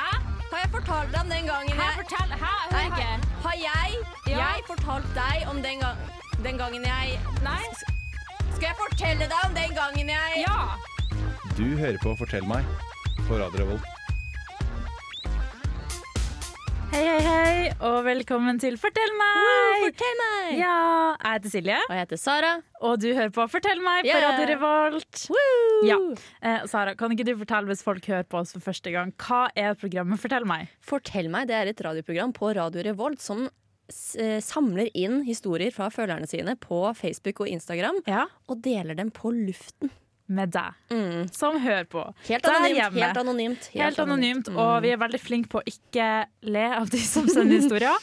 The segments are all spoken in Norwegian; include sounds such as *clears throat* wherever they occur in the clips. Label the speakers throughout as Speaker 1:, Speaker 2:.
Speaker 1: jeg fortalte deg om den gangen
Speaker 2: Hæ,
Speaker 1: jeg
Speaker 2: fortell! Hæ, jeg hører
Speaker 1: Nei,
Speaker 2: ikke.
Speaker 1: har- Har jeg,
Speaker 2: Ja.
Speaker 1: jeg fortalt deg om den, gang, den gangen jeg
Speaker 2: Nei?
Speaker 1: Skal jeg fortelle deg om den gangen jeg
Speaker 2: Ja!
Speaker 3: Du hører på Fortell meg på Radio Revolt.
Speaker 4: Hei, hei, hei, og velkommen til Fortell meg!
Speaker 1: Fortell meg!
Speaker 4: Ja, jeg heter Silje,
Speaker 1: Og jeg heter Sara.
Speaker 4: og du hører på Fortell meg på
Speaker 1: Yeah.
Speaker 4: Radio Revolt.
Speaker 1: Woo!
Speaker 4: Ja. Eh, Sara, kan ikke du fortelle hvis folk hører på oss for første gang, hva er programmet Fortell meg?
Speaker 1: Fortell meg, det er et radioprogram på Radio Revolt som s- eh, samler inn historier fra følgerne sine på Facebook og Instagram
Speaker 4: Ja.
Speaker 1: og deler dem på luften.
Speaker 4: Med deg,
Speaker 2: Mm.
Speaker 4: som hører på.
Speaker 1: Helt
Speaker 4: der
Speaker 1: anonymt.
Speaker 4: hjemme.
Speaker 1: Helt anonymt.
Speaker 4: Helt anonymt,
Speaker 2: Mm.
Speaker 4: og vi er veldig flinke på å ikke le av de som
Speaker 2: *laughs*
Speaker 4: sender historier.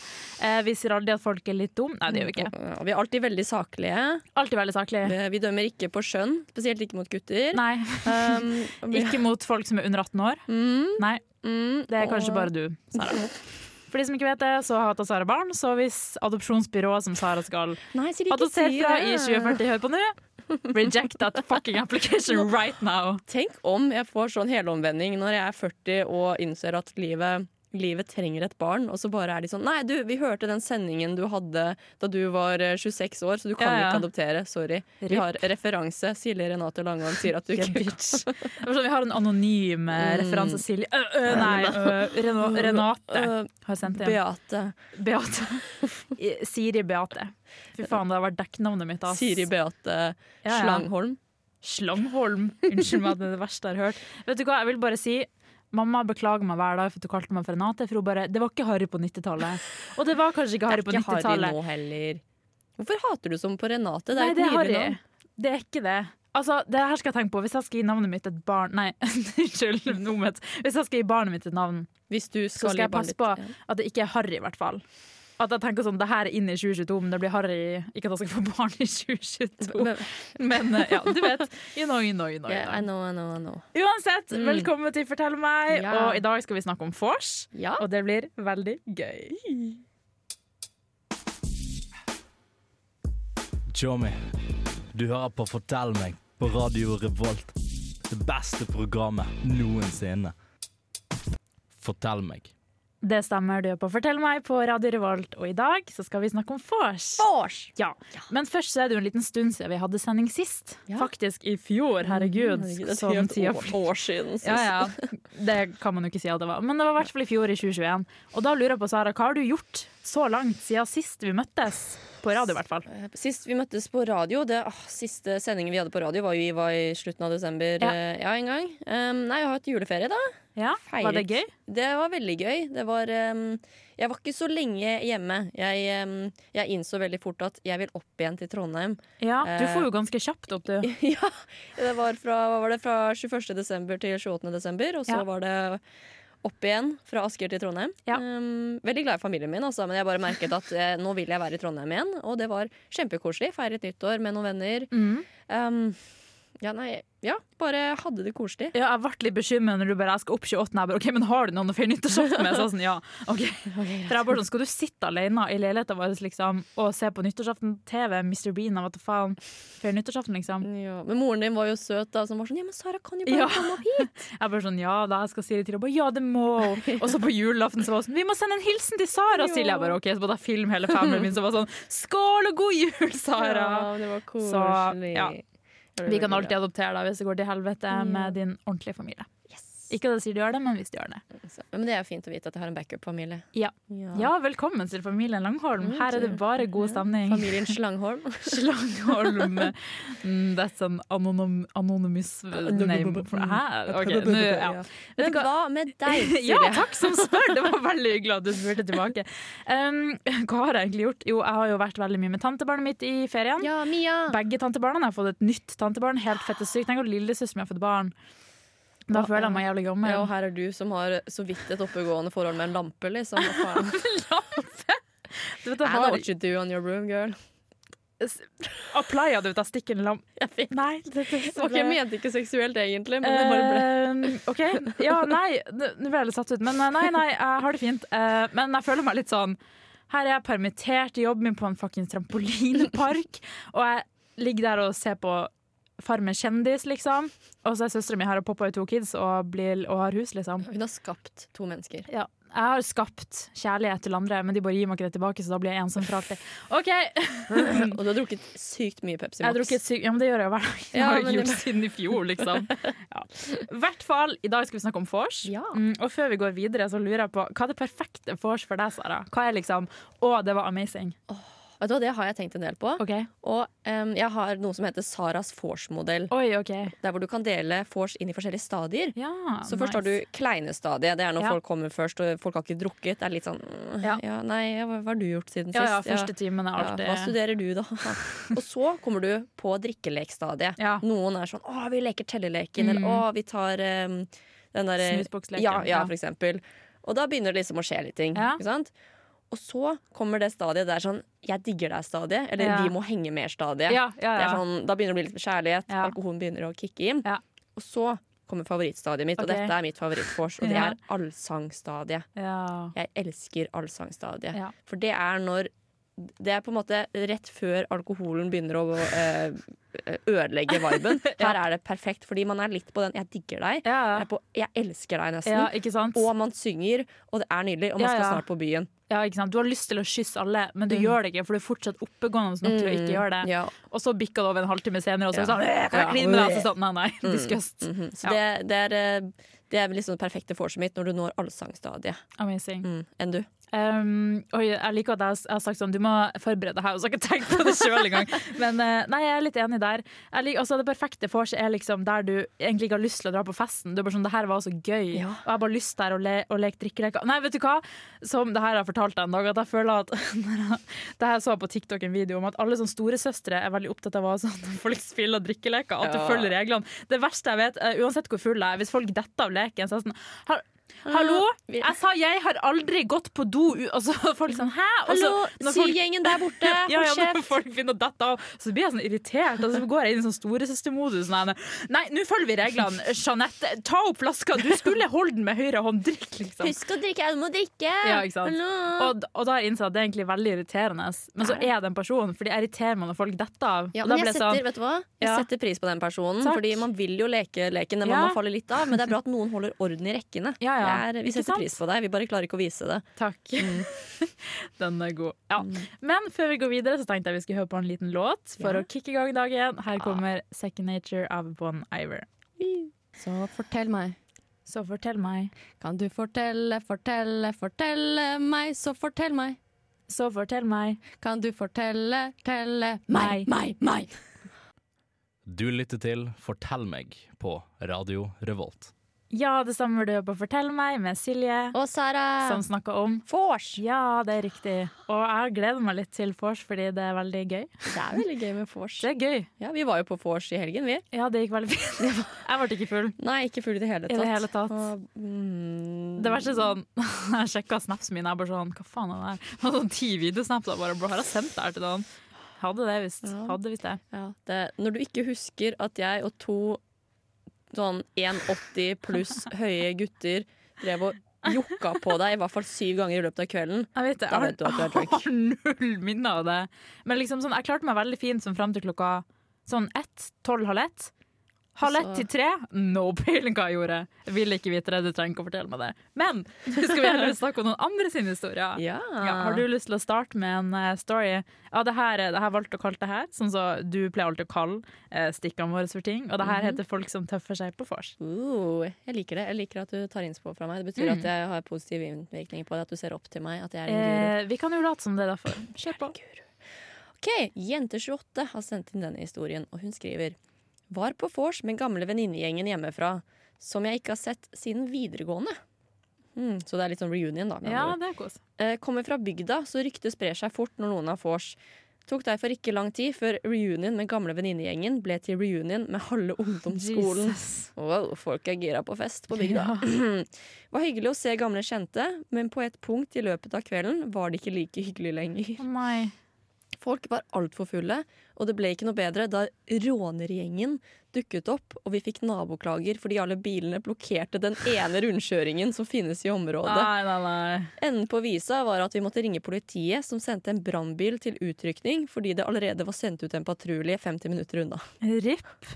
Speaker 4: Eh, vi sier aldri at folk er litt dum. Nei, det gjør vi ikke.
Speaker 1: Ja, Mm. og vi er alltid veldig saklige.
Speaker 2: Mm.
Speaker 4: Alltid veldig saklig.
Speaker 1: Eh, Vi dømmer ikke på skjønn, spesielt ikke mot gutter.
Speaker 4: Nei,
Speaker 2: *laughs*
Speaker 1: Um, og vi-
Speaker 4: ikke mot folk som er under 18 år.
Speaker 1: Mm,
Speaker 4: Nei.
Speaker 1: mm,
Speaker 4: Det er kanskje
Speaker 1: og-
Speaker 4: bare du, Sara. For de som ikke vet det, så hater Sara barn, så hvis adopsjonsbyrået som Sara skal
Speaker 1: Nei, Silje, ikke
Speaker 4: adoptere
Speaker 1: si
Speaker 4: fra i
Speaker 1: det.
Speaker 4: 2040, hør på nå, reject that fucking *laughs* application right now.
Speaker 1: Tenk om jeg får sånn helomvending når jeg er 40 og innser at livet Livet trenger et barn, og så bare er de sånn Nei, du, vi hørte den sendingen du hadde da du var eh, 26 år, så du kan
Speaker 4: Ja, ja.
Speaker 1: ikke adoptere. Sorry. Vi
Speaker 4: Rip.
Speaker 1: har referanse. Silje Renate Langholm sier at du
Speaker 4: Yeah,
Speaker 1: ikke kan.
Speaker 4: bitch. Det er sånn, vi har en anonym eh, referanse. Silje Ø, ø, Nei, Mm. ø, Reno- Renate
Speaker 1: Øh,
Speaker 4: har sendt det.
Speaker 1: Beate.
Speaker 4: Beate. *laughs* I- Siri Beate. Fy faen, det har vært dekknavnet mitt. ass.
Speaker 1: Siri Beate
Speaker 4: Ja, ja.
Speaker 1: Slangholm.
Speaker 4: Slangholm. Unnskyld meg, det er det verste jeg har hørt. Vet du hva, jeg vil bare si Mamma beklager meg hver dag for at du kalte meg for Renate. For hun bare Det var ikke Harry på 90-tallet. Og det var kanskje ikke Harry på
Speaker 1: Det er ikke Harry
Speaker 4: 90-tallet.
Speaker 1: nå heller. Hvorfor hater du sånn på Renate? Det
Speaker 4: Nei,
Speaker 1: er et
Speaker 4: det er
Speaker 1: nydelig
Speaker 4: Harry.
Speaker 1: navn.
Speaker 4: Det er ikke det. Altså, det her skal jeg tenke på. Hvis jeg skal gi navnet mitt et barn Nei, *laughs* unnskyld. nå må jeg- Hvis jeg skal gi barnet mitt et navn,
Speaker 1: Hvis du
Speaker 4: så
Speaker 1: skal,
Speaker 4: skal
Speaker 1: gi
Speaker 4: jeg
Speaker 1: barnet
Speaker 4: passe
Speaker 1: ditt-
Speaker 4: på
Speaker 1: ja.
Speaker 4: at det ikke er Harry, i hvert fall. At jeg tenker sånn, det her er inn i 2022, men det blir Harry Ikke at jeg skal få barn i 2022. *laughs*
Speaker 1: Men-
Speaker 4: Men eh, ja, du vet. You know, you know, you know. you
Speaker 1: Yeah, I
Speaker 4: know.
Speaker 1: know, I know, I know.
Speaker 4: Uansett, velkommen til Fortell meg.
Speaker 1: Ja.
Speaker 4: Og i dag skal vi snakke om vors,
Speaker 1: Ja.
Speaker 4: og det blir veldig gøy.
Speaker 5: Tjommi, du hører på Fortell meg på Radio Revolt. Det beste programmet noensinne. Fortell meg.
Speaker 4: Det stemmer du er på Fortell meg på Radio Revolt, og i dag så skal vi snakke om vors. Ja. Men først så er det jo en liten stund siden vi hadde sending sist.
Speaker 1: Ja.
Speaker 4: Faktisk i fjor,
Speaker 1: Mm,
Speaker 4: herregud.
Speaker 1: Herregud, det er
Speaker 4: som
Speaker 1: helt
Speaker 4: tida
Speaker 1: år-
Speaker 4: flyr.
Speaker 1: år siden. synes
Speaker 4: Ja, ja. Det kan man jo ikke si at det var. Men det var i hvert fall i fjor, i 2021. Og da lurer jeg på, Sara, hva har du gjort så langt siden sist vi møttes? På radio, i hvert fall.
Speaker 1: jeg. Eh, Sist vi møttes på radio, det åh, siste sendingen vi hadde på radio, var jo i, var i slutten av desember.
Speaker 4: Ja.
Speaker 1: eh, Ja, en gang. Um, nei, jeg har hatt juleferie, da.
Speaker 4: Ja, Var det
Speaker 1: Feiret.
Speaker 4: gøy?
Speaker 1: Det var veldig gøy. Det var um, Jeg var ikke så lenge hjemme. Jeg, um, jeg innså veldig fort at jeg vil opp igjen til Trondheim.
Speaker 4: Ja, Du
Speaker 1: Eh,
Speaker 4: får jo ganske kjapt opp, du.
Speaker 1: *laughs* ja, det var fra, hva var det, fra 21. desember til 28. desember, og så
Speaker 4: Ja.
Speaker 1: var det opp igjen fra Asker til Trondheim.
Speaker 4: Ja.
Speaker 1: Um, veldig glad i familien min, altså, men jeg bare merket at eh, nå vil jeg være i Trondheim igjen. Og det var kjempekoselig. Feiret nyttår med noen venner.
Speaker 4: Mm.
Speaker 1: Um, ja, nei, ja, bare hadde det koselig.
Speaker 4: Ja, jeg ble litt bekymret når du bare jeg skal opp 28. Jeg bare, ok, men har du noen å feire nyttårsaften med? Så jeg sånn, ja, *laughs* ok. For jeg bare sånn, skal du sitte alene i leiligheten vår liksom, og se på nyttårsaften TV, Mr. Bean, og hva faen, feire nyttårsaften liksom?
Speaker 1: Ja, men moren din var jo søt, da, som var sånn Ja, men Sara kan jo bare
Speaker 4: Ja.
Speaker 1: komme opp hit!
Speaker 4: Jeg bare sånn, ja da, jeg skal si det til deg. Bare, ja, det må. Og så på julaften så var det sånn, vi må sende en hilsen til Sara, Silje. Jeg bare, ok, så måtte jeg filme hele familien min, så var det sånn, skål og god jul, Sara!
Speaker 1: Ja, det var koselig.
Speaker 4: Så, ja.
Speaker 1: Det var
Speaker 4: Vi kan
Speaker 1: veldig
Speaker 4: alltid adoptere deg hvis det går til helvete med din ordentlige familie. Ikke at jeg sier du gjør det, men hvis du gjør det.
Speaker 1: bra. Så- Men det er jo fint å vite at jeg har en backup-familie.
Speaker 4: Ja. Ja, velkommen til familien Langholm. Her er det bare god stemning.
Speaker 1: Familien *laughs* Slangholm.
Speaker 4: Langholm. *laughs* Mm, That's an anonym, anonymous uh, name. for- Hæ? Ok, nå, ja. Vet
Speaker 1: Men
Speaker 4: du hva?
Speaker 1: hva med deg, Silje?
Speaker 4: *laughs* Ja, takk som spør! Det var veldig hyggelig at du spurte tilbake. Um, hva har jeg egentlig gjort? Jo, jeg har jo vært veldig mye med tantebarnet mitt i ferien.
Speaker 1: Ja, Mia!
Speaker 4: Begge tantebarna jeg har fått et nytt tantebarn. Helt fette sykt. Tenk at lillesøster mi har fått barn. Da føler jeg meg jævlig
Speaker 1: Ja,
Speaker 4: *laughs*
Speaker 1: og
Speaker 4: gammel.
Speaker 1: her er du som har så vidt et oppegående forhold med en lampe, liksom. Hva
Speaker 4: *laughs*
Speaker 1: faen?
Speaker 4: Du
Speaker 1: I
Speaker 4: vet, jeg
Speaker 1: know
Speaker 4: har
Speaker 1: what you do on your room, girl.
Speaker 4: applya du ut av stikken lam... Nei, det, det, det,
Speaker 1: Ok, jeg mente ikke seksuelt egentlig, men det bare ble
Speaker 4: Eh, OK. Ja, nei, n- nå ble jeg litt satt ut. Men eh, nei, nei, jeg har det fint. Eh, Men jeg føler meg litt sånn Her er jeg permittert i jobben min på en fuckings trampolinepark, *laughs* og jeg ligger der og ser på Farmen kjendis, liksom. Og så er søstera mi her og poppa ut to kids og, blir, og har hus, liksom. *laughs*
Speaker 1: Hun har Eh, skapt to mennesker.
Speaker 4: Ja, Jeg har skapt kjærlighet til andre, men de bare gir meg ikke det tilbake, så da blir jeg ensom for alltid. OK!
Speaker 1: Og du har drukket sykt mye Pepsi
Speaker 4: Mm. Jeg har
Speaker 1: Max.
Speaker 4: drukket sykt Ja, men det gjør jeg jo hver dag. Det
Speaker 1: Ja,
Speaker 4: har
Speaker 1: men
Speaker 4: jeg ikke
Speaker 1: det-
Speaker 4: gjort siden i fjor,
Speaker 1: *laughs*
Speaker 4: liksom. Ja. I hvert fall, i dag skal vi snakke om vors.
Speaker 1: Ja.
Speaker 4: Mm, og før vi går videre, så lurer jeg på hva er det perfekte vors for deg, Sara? Hva er liksom Å, det var amazing.
Speaker 1: Vet du hva, Det har jeg tenkt en del på.
Speaker 4: OK.
Speaker 1: Og em, jeg har noe som heter Saras vors-modell.
Speaker 4: Oi, OK.
Speaker 1: Der hvor du kan dele vors inn i forskjellige stadier.
Speaker 4: Ja,
Speaker 1: Så først har du kleine stadiet. Det er når
Speaker 4: Ja.
Speaker 1: folk kommer først, og folk har ikke drukket. Det er litt sånn mm,
Speaker 4: Ja.
Speaker 1: ja, Nei, ja, hva hva har du gjort siden
Speaker 4: Ja, ja,
Speaker 1: sist?
Speaker 4: første timen er
Speaker 1: Ja,
Speaker 4: alltid
Speaker 1: hva studerer du, da? *laughs* og så kommer du på drikkelekstadiet.
Speaker 4: Ja. Mm.
Speaker 1: Noen er sånn 'Å, vi leker telleleken', eller 'Å, vi tar em, den derre
Speaker 4: Snusboksleken,
Speaker 1: Ja, ja,
Speaker 4: ja.
Speaker 1: for eksempel. Og da begynner det liksom å skje litt ting.
Speaker 4: Ja.
Speaker 1: Ikke sant? Og så kommer det stadiet der sånn 'jeg digger deg'-stadiet, eller
Speaker 4: Ja.
Speaker 1: 'vi må henge mer'-stadiet.
Speaker 4: Ja, ja,
Speaker 1: Det er
Speaker 4: ja.
Speaker 1: sånn, da begynner det å bli litt kjærlighet,
Speaker 4: Ja.
Speaker 1: alkoholen begynner å kicke inn.
Speaker 4: Ja.
Speaker 1: Og så kommer favorittstadiet mitt, og
Speaker 4: Ok.
Speaker 1: dette er mitt favorittvors, og det
Speaker 4: Ja.
Speaker 1: er allsangstadiet.
Speaker 4: ja.
Speaker 1: Jeg elsker allsangstadiet.
Speaker 4: Ja.
Speaker 1: For det er når Det er på en måte rett før alkoholen begynner å eh, ødelegge
Speaker 4: *laughs*
Speaker 1: viben. Her er det perfekt, fordi man er litt på den 'jeg digger deg',
Speaker 4: Ja,
Speaker 1: jeg,
Speaker 4: ja.
Speaker 1: er på, 'jeg elsker deg', nesten.
Speaker 4: ja, ikke sant?
Speaker 1: Og man synger, og det er nydelig, og man
Speaker 4: Ja,
Speaker 1: skal
Speaker 4: ja.
Speaker 1: snart på byen.
Speaker 4: Ja, ikke sant? Du har lyst til å kysse alle, men du gjør det ikke, for du er fortsatt oppegående nok til å ikke gjøre det.
Speaker 1: Mm. Ja.
Speaker 4: Og så bikker det over en halvtime senere, og så
Speaker 1: Ja.
Speaker 4: er det sånn «Øh, Kan jeg
Speaker 1: Ja.
Speaker 4: kline med deg? Så sånn, nei, nei, disgust.
Speaker 1: Mhm. Så
Speaker 4: Ja.
Speaker 1: det, det er eh, det er liksom det perfekte vorset mitt når du når allsangstadiet.
Speaker 4: Amazing.
Speaker 1: Mm. Enn du?
Speaker 4: Um, oi, jeg liker at jeg, jeg har sagt sånn, du må forberede deg her, og så har jeg ikke tenkt på det
Speaker 1: *laughs*
Speaker 4: sjøl engang. Men eh, nei, jeg er litt enig der. Jeg liker, altså, det perfekte vorset er liksom der du egentlig ikke har lyst til å dra på festen. Du er bare sånn, det her var så gøy,
Speaker 1: Ja.
Speaker 4: og jeg har bare lyst til å, le, å leke drikkeleker. Nei, vet du hva? Som det her jeg fortalte deg en dag, at jeg føler at *laughs* Det her så jeg på TikTok en video om at alle sånne storesøstre er veldig opptatt av å ha sånn folk spiller drikkeleker, at du
Speaker 1: Ja.
Speaker 4: følger reglene. Det verste jeg vet, eh, uansett hvor full jeg er, hvis folk detter av leken, så er jeg sånn «Hall- Hallo,
Speaker 1: vi-
Speaker 4: jeg sa jeg har aldri gått på do u- Og så er *laughs* folk sånn, hæ? Og så,
Speaker 1: Hallo,
Speaker 4: når folk-
Speaker 1: sygjengen der borte! Hold
Speaker 4: *laughs* ja, ja, når
Speaker 1: kjeft!
Speaker 4: folk begynner å dette av, så blir jeg sånn irritert. Og så går jeg inn i sånn storesøstermodus. Nei, nei, Nei, nå følger vi
Speaker 1: *laughs*
Speaker 4: reglene. Jeanette, ta opp flaska. Du skulle holde den med høyre hånd. Drikk, liksom.
Speaker 1: Husk å drikke, du må drikke!
Speaker 4: Ja, ikke sant?
Speaker 1: Hallo!
Speaker 4: Og, og da har jeg innsett at det er egentlig veldig irriterende. Men så er det en person, for det irriterer meg når folk detter av.
Speaker 1: Ja,
Speaker 4: og da
Speaker 1: men
Speaker 4: blir
Speaker 1: jeg
Speaker 4: jeg sånn,
Speaker 1: setter, vet du hva? jeg
Speaker 4: Ja.
Speaker 1: setter pris på den personen,
Speaker 4: Takk.
Speaker 1: fordi man vil jo leke leken. Den
Speaker 4: Ja.
Speaker 1: man faller litt av, men det er bra at noen holder orden i rekkene.
Speaker 4: Ja, ja.
Speaker 1: Det er, vi
Speaker 4: Ikke
Speaker 1: setter
Speaker 4: sant?
Speaker 1: pris på deg, vi bare klarer ikke å vise det.
Speaker 4: Takk. *laughs* Den er god. Ja. Men før vi går videre, så tenkte jeg vi skulle høre på en liten låt for
Speaker 1: Ja.
Speaker 4: å kicke i gang dagen. Her kommer 'Second Nature' av Bon Iver.
Speaker 2: Så fortell meg,
Speaker 4: Så fortell meg,
Speaker 2: kan du fortelle, fortelle, fortelle meg, så fortell meg.
Speaker 4: så fortell meg.
Speaker 2: Kan du fortelle, telle
Speaker 4: Meg.
Speaker 2: meg, meg, meg.
Speaker 5: Du lytter til Fortell meg på Radio Revolt.
Speaker 4: Ja, det stemmer du hører på 'Fortell meg' med Silje,
Speaker 1: Og Sara!
Speaker 4: som snakker om
Speaker 1: Vors!
Speaker 4: ja, det er riktig. Og jeg gleder meg litt til vors, fordi det er veldig gøy.
Speaker 1: Det er veldig gøy med vors.
Speaker 4: Det er gøy.
Speaker 1: Ja, vi var jo på vors i helgen, vi.
Speaker 4: Ja, det gikk veldig fint. Jeg ble ikke full.
Speaker 1: Nei, ikke full i det hele
Speaker 4: I
Speaker 1: tatt.
Speaker 4: det hele tatt.
Speaker 1: Og, mm,
Speaker 4: Det verste er sånn *laughs* Jeg sjekka snapsen min, jeg bare sånn Hva faen er det her? Og sånn ti videosnaps. Jeg bare, bro, har jeg sendt det her til noen? Hadde det visst.
Speaker 1: Ja.
Speaker 4: Hadde visst det.
Speaker 1: ja, det, når du ikke husker at jeg og to sånn 1,80 *laughs* pluss høye gutter drev og jokka på deg i hvert fall syv ganger i løpet av kvelden
Speaker 4: Jeg vet det.
Speaker 1: Da vet du at du er drunk.
Speaker 4: *laughs* Jeg har null minner av det. Men liksom sånn, jeg klarte meg veldig fint sånn fram til klokka sånn ett, tolv, halv ett. Halv ett
Speaker 1: Så-
Speaker 4: til tre, no peiling hva jeg gjorde. Jeg vil ikke vite det, du trenger ikke å fortelle meg det. Men *laughs* nå skal vi heller snakke om noen andre sine historier.
Speaker 1: Ja.
Speaker 4: Ja, har du lyst til å starte med en eh, story? Ja, det her, det her valgte å kalle det her, sånn som du pleier alltid å kalle eh, stikkene våre for ting. Og det her heter folk som tøffer seg på vors.
Speaker 1: Uh, jeg liker det. Jeg liker at du tar innspill fra meg. Det betyr
Speaker 4: Mm.
Speaker 1: at jeg har positiv innvirkning på det, at du ser opp til meg. At jeg er en guru.
Speaker 4: Eh, vi kan jo late som det er derfor. Kjør på.
Speaker 1: Ok, Jente28 har sendt inn denne historien, og hun skriver Var på vors med gamle venninnegjengen hjemmefra, som jeg ikke har sett siden videregående. Hmm, så det er litt sånn reunion, da. med andre
Speaker 4: Ja,
Speaker 1: ord.
Speaker 4: det er kos.
Speaker 1: Eh, Kommer fra bygda, så ryktet sprer seg fort når noen har vors. Tok derfor ikke lang tid før reunion med gamle venninnegjengen ble til reunion med halve ungdomsskolen.
Speaker 4: Jesus.
Speaker 1: Wow, folk er gira på fest på bygda. *clears throat* var hyggelig å se gamle kjente, men på et punkt i løpet av kvelden var det ikke like hyggelig lenger.
Speaker 4: Å nei.
Speaker 1: Folk var altfor fulle, og det ble ikke noe bedre da rånergjengen dukket opp, og vi fikk naboklager fordi alle bilene blokkerte den ene rundkjøringen som finnes i området.
Speaker 4: Nei, nei, nei.
Speaker 1: Enden på visa var at vi måtte ringe politiet, som sendte en brannbil til utrykning fordi det allerede var sendt ut en patrulje 50 minutter unna.
Speaker 4: Ripp.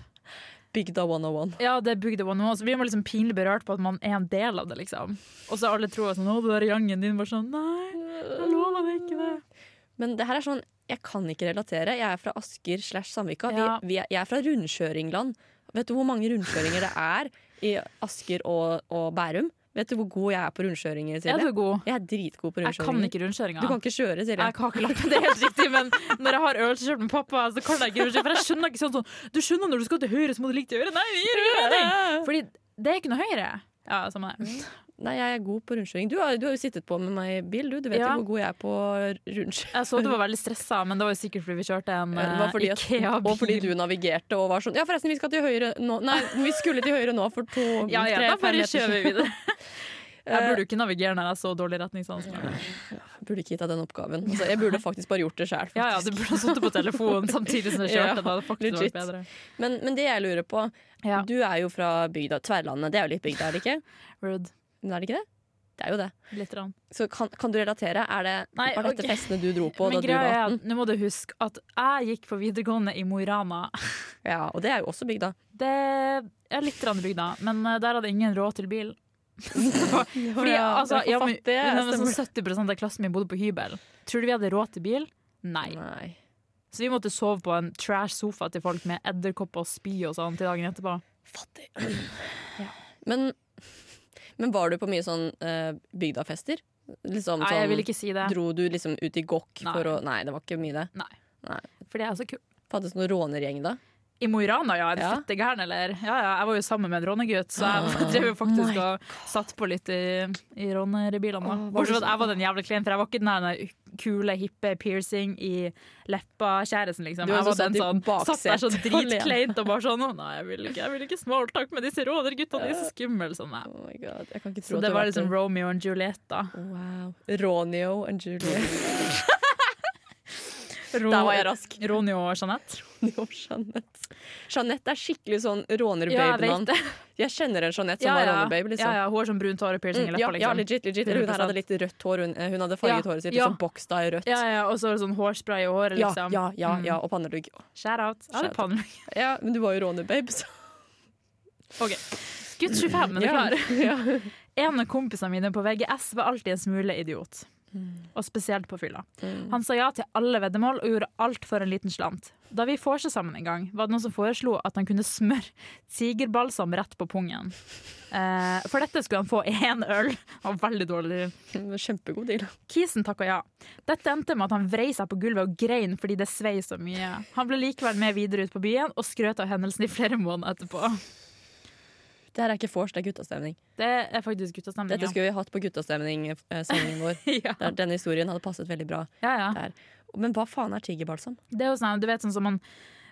Speaker 1: Bygda 101.
Speaker 4: Ja, det er bygda one one, så vi var liksom pinlig berørt på at man er en del av det, liksom. Og så alle tror sånn, å, det der jangen din var sånn, nei, jeg lover deg ikke det.
Speaker 1: Men det her er sånn, jeg kan ikke relatere. Jeg er fra Asker slash Sandvika. Vi,
Speaker 4: Ja.
Speaker 1: vi er, jeg er fra rundkjøringland. Vet du hvor mange rundkjøringer det er i Asker og, og Bærum? Vet du hvor god jeg er på rundkjøringer,
Speaker 4: Er
Speaker 1: Silje?
Speaker 4: du god?
Speaker 1: Jeg er dritgod på
Speaker 4: Jeg kan
Speaker 1: rundkjøringer.
Speaker 4: ikke rundkjøringa.
Speaker 1: Du kan ikke kjøre, Silje.
Speaker 4: Jeg har ikke lagt meg, det er helt riktig, men når jeg har ølskjørt med pappa, så kan jeg ikke rundkjøre. For jeg skjønner ikke sånn sånn Du skjønner når du skal til høyre, så må du ligge til høyre. Nei, vi gir rundkjøring! Fordi det er ikke noe høyre. Ja, samme det.
Speaker 1: Nei, jeg er god på rundkjøring. Du har, du har jo sittet på med meg i bil, du. Du vet
Speaker 4: Ja.
Speaker 1: jo hvor god jeg er på rundkjøring.
Speaker 4: Jeg så du var veldig stressa, men det var jo sikkert fordi vi kjørte en eh,
Speaker 1: Ja, det var fordi at,
Speaker 4: Ikea-bil.
Speaker 1: og fordi du navigerte og var sånn Ja, forresten, vi skal til høyre nå. Nei, vi skulle til høyre nå for to
Speaker 4: Ja, ja,
Speaker 1: tre,
Speaker 4: da
Speaker 1: fem
Speaker 4: bare
Speaker 1: meter
Speaker 4: kjører
Speaker 1: siden.
Speaker 4: vi videre. *laughs* Jeg
Speaker 1: Eh,
Speaker 4: burde jo ikke navigere når jeg har så dårlig retningssans.
Speaker 1: burde ikke gitt deg den oppgaven. Altså, jeg burde faktisk bare gjort det sjæl.
Speaker 4: Ja, ja, du burde ha sittet på telefonen samtidig som du
Speaker 1: Ja,
Speaker 4: kjørte. Da hadde det faktisk
Speaker 1: legit.
Speaker 4: vært bedre.
Speaker 1: Men, men det jeg lurer på
Speaker 4: Ja.
Speaker 1: Du er jo fra bygda. Tverlandet. Det er jo litt bygda, er det ikke?
Speaker 4: Rude.
Speaker 1: Men er det ikke det? Det er jo det.
Speaker 4: Litt rann.
Speaker 1: Så kan, kan du relatere? Er det,
Speaker 4: Nei,
Speaker 1: var dette
Speaker 4: ok.
Speaker 1: festene du dro på
Speaker 4: Men
Speaker 1: da du var
Speaker 4: greia er
Speaker 1: 18?
Speaker 4: at nå må du huske at jeg gikk på videregående i Mo i Rana.
Speaker 1: Ja, og det er jo også bygda.
Speaker 4: Det er litt rann bygda, men eh, der hadde ingen råd til bil. *laughs* Fordi, altså, ja, men, men, men sånn 70 av klassen min bodde på hybel. Tror du vi hadde råd til bil? Nei.
Speaker 1: Nei.
Speaker 4: Så vi måtte sove på en trash sofa til folk med edderkopper og spy og sånn til dagen etterpå. *clears throat*
Speaker 1: Fattig. Men, men var du på mye sånn eh, bygdafester? Liksom,
Speaker 4: Nei, jeg
Speaker 1: sånn-
Speaker 4: vil ikke si det.
Speaker 1: Dro du liksom ut i gokk
Speaker 4: Nei.
Speaker 1: for å Nei, det var ikke mye det.
Speaker 4: Fordi jeg er så kul.
Speaker 1: Fantes det noen rånergjeng da?
Speaker 4: I Mo i Rana, ja. Er du
Speaker 1: Ja. Ah,
Speaker 4: fette gæren, eller? Ja, ja, jeg var jo sammen med en rånegutt, så jeg *laughs* drev jo
Speaker 1: my
Speaker 4: faktisk og satt på litt i, i rånerbilene. da.
Speaker 1: Åh, var du
Speaker 4: Bortsett fra at
Speaker 1: så-
Speaker 4: jeg var den jævla kleinen, for jeg var ikke den der kule, hippe piercing i leppa-kjæresten,
Speaker 1: Du
Speaker 4: liksom.
Speaker 1: var den
Speaker 4: Jeg var
Speaker 1: som
Speaker 4: den
Speaker 1: satt i
Speaker 4: sånn, satt
Speaker 1: *laughs*
Speaker 4: der sånn
Speaker 1: baksetet alene.
Speaker 4: dritkleint og bare sånn «Å, Nei, jeg vil ikke, jeg vil ikke smalltalk med disse rånergutta, de er så skumle. Sånn, nei.
Speaker 1: Oh my god, jeg kan ikke tro
Speaker 4: Så
Speaker 1: at
Speaker 4: det var
Speaker 1: har vært
Speaker 4: liksom Romeo og Juliet, da.
Speaker 1: en- Wow. Ronio and Julie.
Speaker 4: Ro
Speaker 1: Der var jeg rask.
Speaker 4: Ronio og Jeanette.
Speaker 1: *laughs* Ronio og Jeanette. Jeanette er skikkelig sånn
Speaker 4: Ja, jeg vet
Speaker 1: rånerbabe-navn. jeg, kjenner en Jeanette som
Speaker 4: Ja,
Speaker 1: var
Speaker 4: ja.
Speaker 1: rånerbabe, liksom.
Speaker 4: Ja, ja, hun har sånn brunt hår og piercing i
Speaker 1: Mm,
Speaker 4: leppa,
Speaker 1: ja,
Speaker 4: liksom.
Speaker 1: ja, legit, legit. Eller Hun her hadde litt rødt hår. Hun, eh, hun hadde farget
Speaker 4: Ja,
Speaker 1: håret sitt,
Speaker 4: ja.
Speaker 1: liksom boksta i rødt.
Speaker 4: Ja, ja, og så er det sånn hårspray i håret,
Speaker 1: Ja,
Speaker 4: liksom.
Speaker 1: ja, ja, ja, og pannelugg.
Speaker 4: Shout out. Ja, det er
Speaker 1: Shout
Speaker 4: pannelugg.
Speaker 1: Ja, men du var jo rånerbabe, så
Speaker 4: *laughs* Ok. Gutt 25, er du
Speaker 1: *laughs* Ja.
Speaker 4: klar? En av kompisene mine på VGS var alltid en smule idiot. Og spesielt på fylla. Han sa ja til alle veddemål og gjorde alt for en liten slant. Da vi vorsa sammen en gang, var det noen som foreslo at han kunne smøre tigerbalsam rett på pungen. Eh, for dette skulle han få én øl. Han var veldig dårlig.
Speaker 1: Kjempegod deal.
Speaker 4: Kisen takka ja. Dette endte med at han vrei seg på gulvet og grein fordi det svei så mye. Han ble likevel med videre ut på byen og skrøt av hendelsen i flere måneder etterpå.
Speaker 1: Det her er ikke vors, det er guttastemning.
Speaker 4: Det er faktisk guttastemning. *laughs*
Speaker 1: Dette
Speaker 4: ja.
Speaker 1: skulle vi hatt på guttastemning-sendingen vår.
Speaker 4: Ja.
Speaker 1: Der, denne historien hadde passet veldig bra
Speaker 4: Ja, ja.
Speaker 1: der. Men hva faen er tigerbalsam?
Speaker 4: Det er jo sånn, du vet sånn som man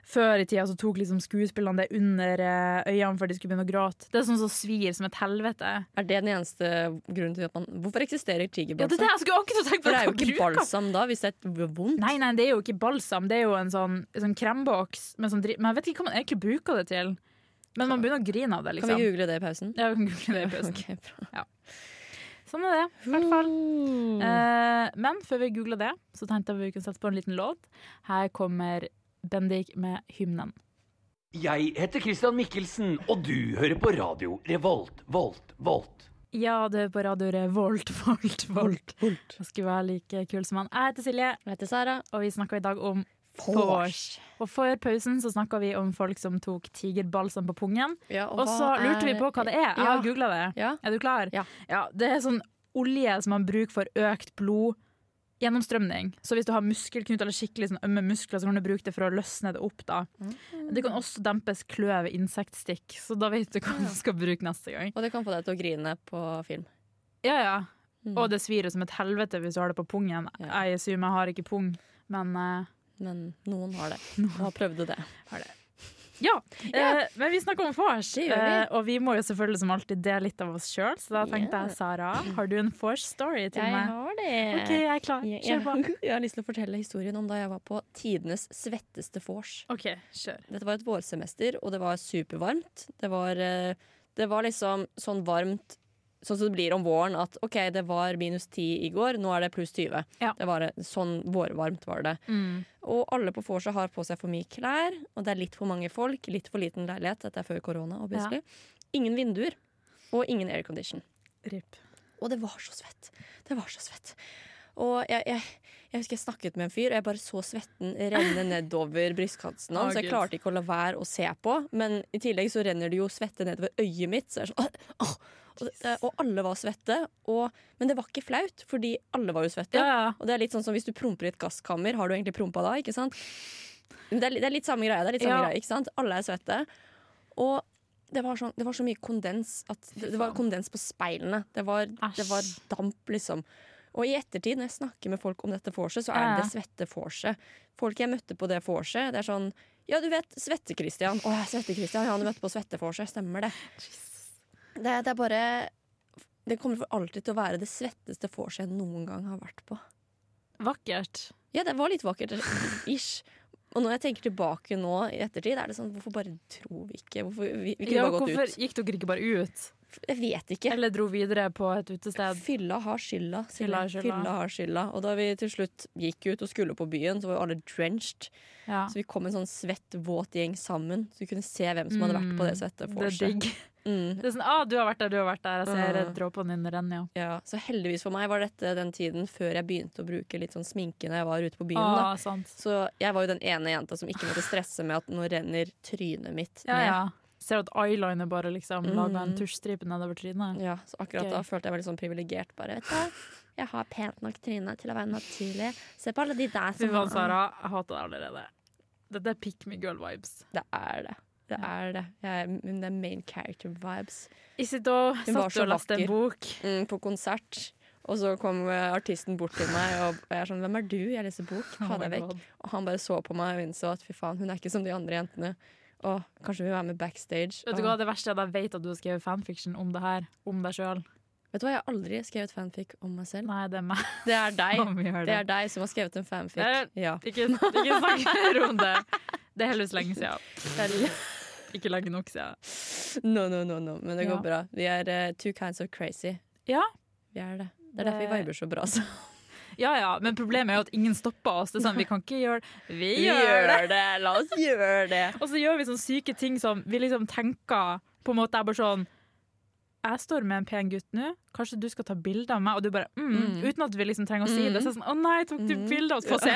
Speaker 4: før i tida så tok liksom skuespillerne det under eh, øynene før de skulle begynne å gråte. Det er sånn som svir som et helvete.
Speaker 1: Er det den eneste grunnen til at man Hvorfor eksisterer
Speaker 4: Ja, det er
Speaker 1: tigerbalsam?
Speaker 4: det jeg skulle akkurat tenke på!
Speaker 1: For det er jo
Speaker 4: Hva
Speaker 1: ikke
Speaker 4: bruker man?
Speaker 1: balsam da, hvis det er v- vondt.
Speaker 4: Nei, nei, det er jo ikke balsam. Det er jo en sånn, sånn kremboks. Men, sånn, dri- men jeg vet ikke hva man egentlig bruker det til. Men man begynner å grine av det,
Speaker 1: Kan
Speaker 4: liksom.
Speaker 1: vi google det i pausen?
Speaker 4: Ja, vi kan google det i pausen.
Speaker 1: *laughs* Ok, bra.
Speaker 4: Sånn er det, i hvert fall.
Speaker 1: Uh.
Speaker 4: Eh, men før vi googla det, så tenkte jeg vi kunne sette på en liten låt. Her kommer Bendik med hymnen.
Speaker 6: Jeg heter Christian Mikkelsen, og du hører på radio Revolt, Volt, Volt.
Speaker 4: Ja, du er på radio Revolt, Volt, Volt. Jeg skulle være like kul som han. Jeg heter Silje,
Speaker 1: Jeg heter Sara.
Speaker 4: og vi snakker i dag om
Speaker 1: Vors.
Speaker 4: vors. Og før pausen så snakka vi om folk som tok tigerbalsam på pungen.
Speaker 1: Ja,
Speaker 4: Og så
Speaker 1: hva
Speaker 4: lurte vi på hva det er. Jeg har
Speaker 1: Ja.
Speaker 4: googla det.
Speaker 1: Ja.
Speaker 4: Er du klar?
Speaker 1: Ja.
Speaker 4: Det er sånn olje som man bruker for økt blod. Gjennomstrømning. Så hvis du har muskelknut eller skikkelig sånn ømme muskler, så kan du bruke det for å løsne det opp. da.
Speaker 1: Mm.
Speaker 4: Det kan også dempes kløv, insektstikk, så da vet du hva du skal bruke neste gang.
Speaker 1: Og det kan få deg til å grine på film.
Speaker 4: Ja, ja.
Speaker 1: Mm.
Speaker 4: Og det svir jo som et helvete hvis du har det på pungen.
Speaker 1: Ja.
Speaker 4: Jeg assumer jeg har ikke pung, men eh,
Speaker 1: Men noen har
Speaker 4: *laughs*
Speaker 1: det. Og har prøvd det.
Speaker 4: ja. Eh, men vi snakker om vors,
Speaker 1: Det gjør vi.
Speaker 4: Eh, og vi må jo selvfølgelig som alltid dele litt av oss sjøl. Så da tenkte
Speaker 1: Ja.
Speaker 4: jeg, Sara, har du en vors-story til meg?
Speaker 1: har det.
Speaker 4: OK, jeg er klar.
Speaker 1: Jeg,
Speaker 4: Kjør på.
Speaker 1: *laughs* jeg har lyst til å fortelle historien om da jeg var på tidenes svetteste vors.
Speaker 4: OK, kjør.
Speaker 1: Dette var et vårsemester, og det var supervarmt. Det var, eh, det var liksom sånn varmt sånn som det blir om våren, at OK, det var minus 10 i går, nå er det pluss 20.
Speaker 4: Ja.
Speaker 1: Det var sånn vårvarmt var det.
Speaker 4: Mm.
Speaker 1: Og alle på vorset har på seg for mye klær, og det er litt for mange folk, litt for liten leilighet. Dette er før korona, obviously. Ingen vinduer, og ingen aircondition.
Speaker 4: Rip.
Speaker 1: Og det var så svett. Det var så svett. Og jeg, jeg, jeg husker jeg snakket med en fyr, og jeg bare så svetten renne
Speaker 4: *laughs*
Speaker 1: nedover brystkanten hans.
Speaker 4: Å,
Speaker 1: så jeg
Speaker 4: Gud.
Speaker 1: klarte ikke å la være å se på. Men i tillegg så renner det jo svette nedover øyet mitt. Så jeg er sånn, «Åh, åh». Og, det- og alle var svette. Og, men det var ikke flaut, fordi alle var jo svette.
Speaker 4: Ja, ja.
Speaker 1: Og det er litt sånn som hvis du promper i et gasskammer, har du egentlig prompa da? ikke sant? Men det, er, li- det er litt samme greia. det er litt samme
Speaker 4: Ja.
Speaker 1: greie, ikke sant? Alle er svette. Og det var, sånn, det var så mye kondens at det, det var kondens på speilene. Det var, det var
Speaker 4: Æsj.
Speaker 1: damp, liksom. Og i ettertid, når jeg snakker med folk om dette vorset, så er
Speaker 4: Ja, ja.
Speaker 1: det det svette vorset. Folk jeg møtte på det vorset, det er sånn Ja, du vet, Svette-Christian. Å, Svette-Christian. Ja, du møtte på Svette-vorset. Stemmer det. Det, det er bare Det kommer for alltid til å være det svetteste vorset jeg noen gang har vært på.
Speaker 4: Vakkert.
Speaker 1: Ja, det var litt vakkert. eh, Ish. Og når jeg tenker tilbake nå i ettertid, er det sånn Hvorfor bare dro vi ikke? Hvorfor, vi, vi kunne
Speaker 4: Ja,
Speaker 1: bare
Speaker 4: hvorfor
Speaker 1: gått ut.
Speaker 4: gikk dere ikke bare ut?
Speaker 1: Jeg vet ikke.
Speaker 4: Eller dro videre på et utested?
Speaker 1: Fylla har skylda. sier jeg.
Speaker 4: Fylla har skylda.
Speaker 1: Fylla har skylda. Og da vi til slutt gikk ut og skulle på byen, så var jo alle drenched.
Speaker 4: Ja.
Speaker 1: Så vi kom en sånn svett, våt gjeng sammen, så vi kunne se hvem som hadde vært på det svette
Speaker 4: Det er
Speaker 1: vorset.
Speaker 4: digg.
Speaker 1: Mm,
Speaker 4: Det er sånn, ah, du har vært der, du har vært der. Altså, Jeg ser
Speaker 1: Mm.
Speaker 4: dråpene dine renne, ja.
Speaker 1: ja. Så heldigvis for meg var dette den tiden før jeg begynte å bruke litt sånn sminke når jeg var ute på byen. da.
Speaker 4: Ah, sant.
Speaker 1: Så jeg var jo den ene jenta som ikke måtte stresse med at nå renner trynet mitt
Speaker 4: Ja,
Speaker 1: ned.
Speaker 4: ja. Ser at eyeliner bare liksom
Speaker 1: Mm.
Speaker 4: lager en tusjstripe nedover trynet.
Speaker 1: Ja, så akkurat
Speaker 4: Gøy.
Speaker 1: da følte jeg meg litt sånn privilegert. Bare, vet du, hva? jeg har pent nok tryne til å være naturlig. Se på alle de der
Speaker 4: Fy
Speaker 1: som
Speaker 4: faen, Sara. Jeg hater deg allerede. Dette er pick me girl vibes.
Speaker 1: Det er det. Det er det. Jeg, men det er main character vibes.
Speaker 4: Isito satt
Speaker 1: Hun var
Speaker 4: du
Speaker 1: så
Speaker 4: og leste en
Speaker 1: vakker.
Speaker 4: bok.
Speaker 1: Mm, på konsert. Og så kom eh, artisten bort til meg og jeg er sånn 'Hvem er du?' Jeg leser bok. Ha
Speaker 4: Oh my
Speaker 1: deg vekk.
Speaker 4: God.
Speaker 1: Og han bare så på meg og innså at fy faen, hun er ikke som de andre jentene. Og kanskje hun er med backstage.
Speaker 4: Vet du
Speaker 1: Og-
Speaker 4: hva, Det verste er at jeg vet at du har skrevet fanfiction om det her. Om deg sjøl.
Speaker 1: vet du hva, jeg har aldri skrevet fanfic om meg selv.
Speaker 4: Nei, det er meg.
Speaker 1: Det er deg.
Speaker 4: *laughs* Om vi gjør
Speaker 1: Det er deg som har skrevet en fanfic.
Speaker 4: Det
Speaker 1: Ja.
Speaker 4: Ikke, ikke snakk mer om det. Det er heldigvis lenge siden. Ikke lenge nok siden.
Speaker 1: No, no, no, no. Men det går
Speaker 4: Ja.
Speaker 1: bra. Vi er eh, two kinds of crazy.
Speaker 4: Ja. Eh,
Speaker 1: Vi er det. Det er derfor vi
Speaker 4: Det-
Speaker 1: viber så bra. Altså.
Speaker 4: ja ja, men problemet er jo at ingen stopper oss. Det er sånn, Vi kan ikke gjøre det. Vi *laughs* gjør
Speaker 1: gjør
Speaker 4: det!
Speaker 1: det! La oss gjøre det!
Speaker 4: Og så *laughs* gjør vi sånne syke ting som vi liksom tenker På en måte er bare sånn Jeg står med en pen gutt nå, kanskje du skal ta bilde av meg? Og du bare mm, Uten at vi liksom trenger å si det. Så er det sånn Å nei, tok du bilde av oss? Få se!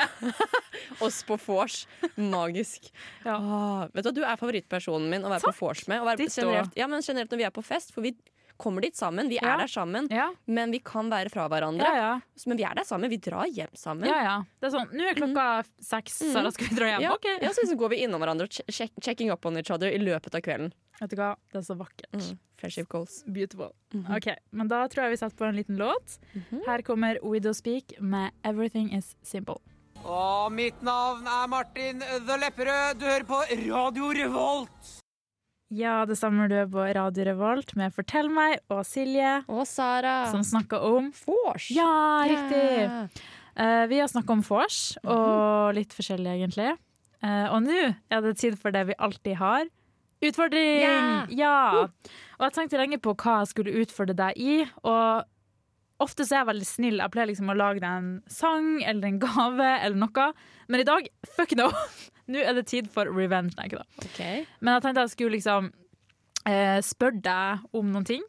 Speaker 1: Oss på vors. Magisk.
Speaker 4: Ja.
Speaker 1: Ah, vet Du hva, du er favorittpersonen min å være på vors med. Å være
Speaker 4: Ditto.
Speaker 1: generelt, ja, men generelt når vi er på fest, for vi kommer dit sammen. Vi er
Speaker 4: Ja.
Speaker 1: der sammen,
Speaker 4: Ja,
Speaker 1: men vi kan være fra
Speaker 4: *laughs* ja,
Speaker 1: hverandre.
Speaker 4: ja.
Speaker 1: Men vi er der sammen. Vi drar hjem sammen.
Speaker 4: ja, Mm. ja. Det er sånn Nå er klokka seks, så da skal vi dra hjem.
Speaker 1: Ja,
Speaker 4: OK.
Speaker 1: ja, så liksom går vi innom hverandre og che- check, checking up on each other i løpet av kvelden.
Speaker 4: Vet du hva, det er så vakkert.
Speaker 1: Friendship goals.
Speaker 4: Beautiful. Ok, Men da tror jeg vi setter på en liten låt. Her kommer Widow Speak med 'Everything Is Simple'.
Speaker 7: Og mitt navn er Martin The Lepperød. Du hører på Radio Revolt.
Speaker 4: Ja, det stemmer, du er på Radio Revolt med 'Fortell meg' og Silje,
Speaker 1: Og Sara.
Speaker 4: som snakker om
Speaker 1: Vors.
Speaker 4: Ja, riktig!
Speaker 1: Ja.
Speaker 4: Eh, vi har snakket om vors, og litt forskjellig, egentlig. Eh, og nå er det tid for det vi alltid har. Utfordring!
Speaker 1: Ja!
Speaker 4: Ja! Og jeg tenkte lenge på hva jeg skulle utfordre deg i, og ofte så er jeg veldig snill. Jeg pleier liksom å lage deg en sang eller en gave eller noe, men i dag, fuck no! *laughs* Nå er det tid for revenge, nei, ikke da.
Speaker 1: Ok.
Speaker 4: Men jeg tenkte jeg skulle liksom eh, spørre deg om noen ting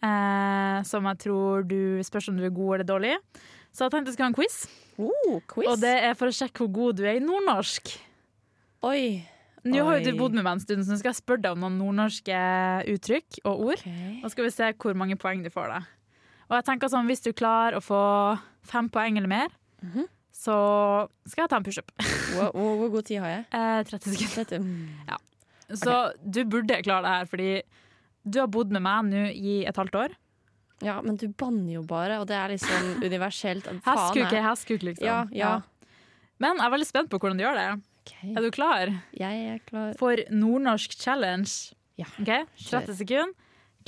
Speaker 4: eh, som jeg tror du spørs om du er god eller dårlig. Så jeg tenkte jeg skulle ha en quiz,
Speaker 1: Oh, quiz.
Speaker 4: og det er for å sjekke hvor god du er i nordnorsk.
Speaker 1: Oi.
Speaker 4: Nå har
Speaker 1: Oi.
Speaker 4: jo du bodd med meg en stund, så nå skal jeg spørre deg om noen nordnorske uttrykk og ord. Og skal vi se hvor mange poeng du får da. Og jeg tenker sånn, hvis du klarer å få fem poeng eller mer,
Speaker 1: Mhm.
Speaker 4: så skal jeg ta en pushup.
Speaker 1: Hvor, hvor, hvor god tid har jeg?
Speaker 4: Eh, 30 sekunder.
Speaker 1: Dette,
Speaker 4: *laughs* Så du burde klare det her, fordi du har bodd med meg nå i et halvt år.
Speaker 1: ja, men du banner jo bare, og det er liksom universelt. Faen,
Speaker 4: Hestkuk
Speaker 1: jeg.
Speaker 4: er hestkuk, liksom.
Speaker 1: Ja, ja.
Speaker 4: Men jeg er veldig spent på hvordan du gjør det.
Speaker 1: Ok.
Speaker 4: Er du klar
Speaker 1: Jeg er klar.
Speaker 4: for nordnorsk challenge?
Speaker 1: Ja.
Speaker 4: Ok, 30 sekunder.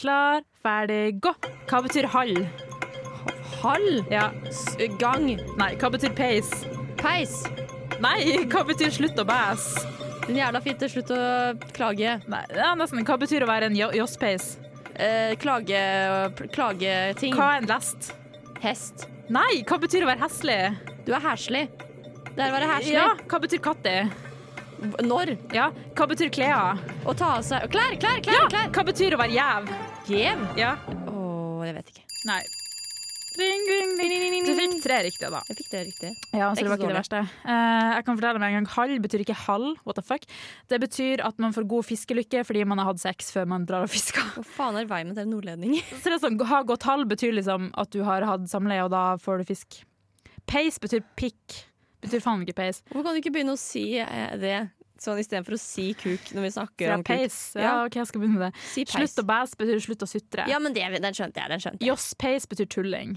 Speaker 4: Klar, ferdig, gå! Hva betyr hall?
Speaker 1: Hall.
Speaker 4: Ja.
Speaker 1: S- Gang.
Speaker 4: Nei, hva betyr peis?
Speaker 1: Peis.
Speaker 4: Nei, hva betyr slutt å bæs?
Speaker 1: Din jævla fitte, slutt å klage.
Speaker 4: Nei, ja, nesten. Hva betyr å være en jo- josspeis?
Speaker 1: eh, klage, klageting.
Speaker 4: Hva er en lest?
Speaker 1: Hest.
Speaker 4: Nei, hva betyr å være heslig?
Speaker 1: Du er herslig. Det er å være herslig.
Speaker 4: Ja, hva betyr katti?
Speaker 1: Når?
Speaker 4: Ja, hva betyr klea?
Speaker 1: Å ta av seg Klær, klær, klær!
Speaker 4: Ja,
Speaker 1: klær.
Speaker 4: hva betyr å være jæv?
Speaker 1: Gjev?
Speaker 4: Ja,
Speaker 1: Å, jeg vet ikke.
Speaker 4: nei. Ring, ring, ring, ring, ring. Du fikk tre riktige da.
Speaker 1: Jeg fikk det riktig.
Speaker 4: Ja,
Speaker 1: Det
Speaker 4: så
Speaker 1: er
Speaker 4: det
Speaker 1: ikke så
Speaker 4: var ikke det verste. Eh, jeg kan fortelle med en gang Halv betyr ikke halv. What the fuck? Det betyr at man får god fiskelykke fordi man har hatt sex før man drar og fisker.
Speaker 1: *laughs* Hva faen er veien med til en nordlending?
Speaker 4: Så det er sånn, Ha godt halv betyr liksom at du har hatt samleie, og da får du fisk. Peis betyr pikk. Betyr faen ikke peis.
Speaker 1: Hvorfor kan du ikke begynne å si eh, det sånn istedenfor å si kuk når vi snakker
Speaker 4: Ja,
Speaker 1: om kuk?
Speaker 4: peis. Ja, OK, jeg skal begynne med det.
Speaker 1: Si peis.
Speaker 4: Slutt å bæs betyr slutt å sutre.
Speaker 1: Ja, men det, den skjønte jeg. den skjønte jeg.
Speaker 4: Joss peis betyr tulling.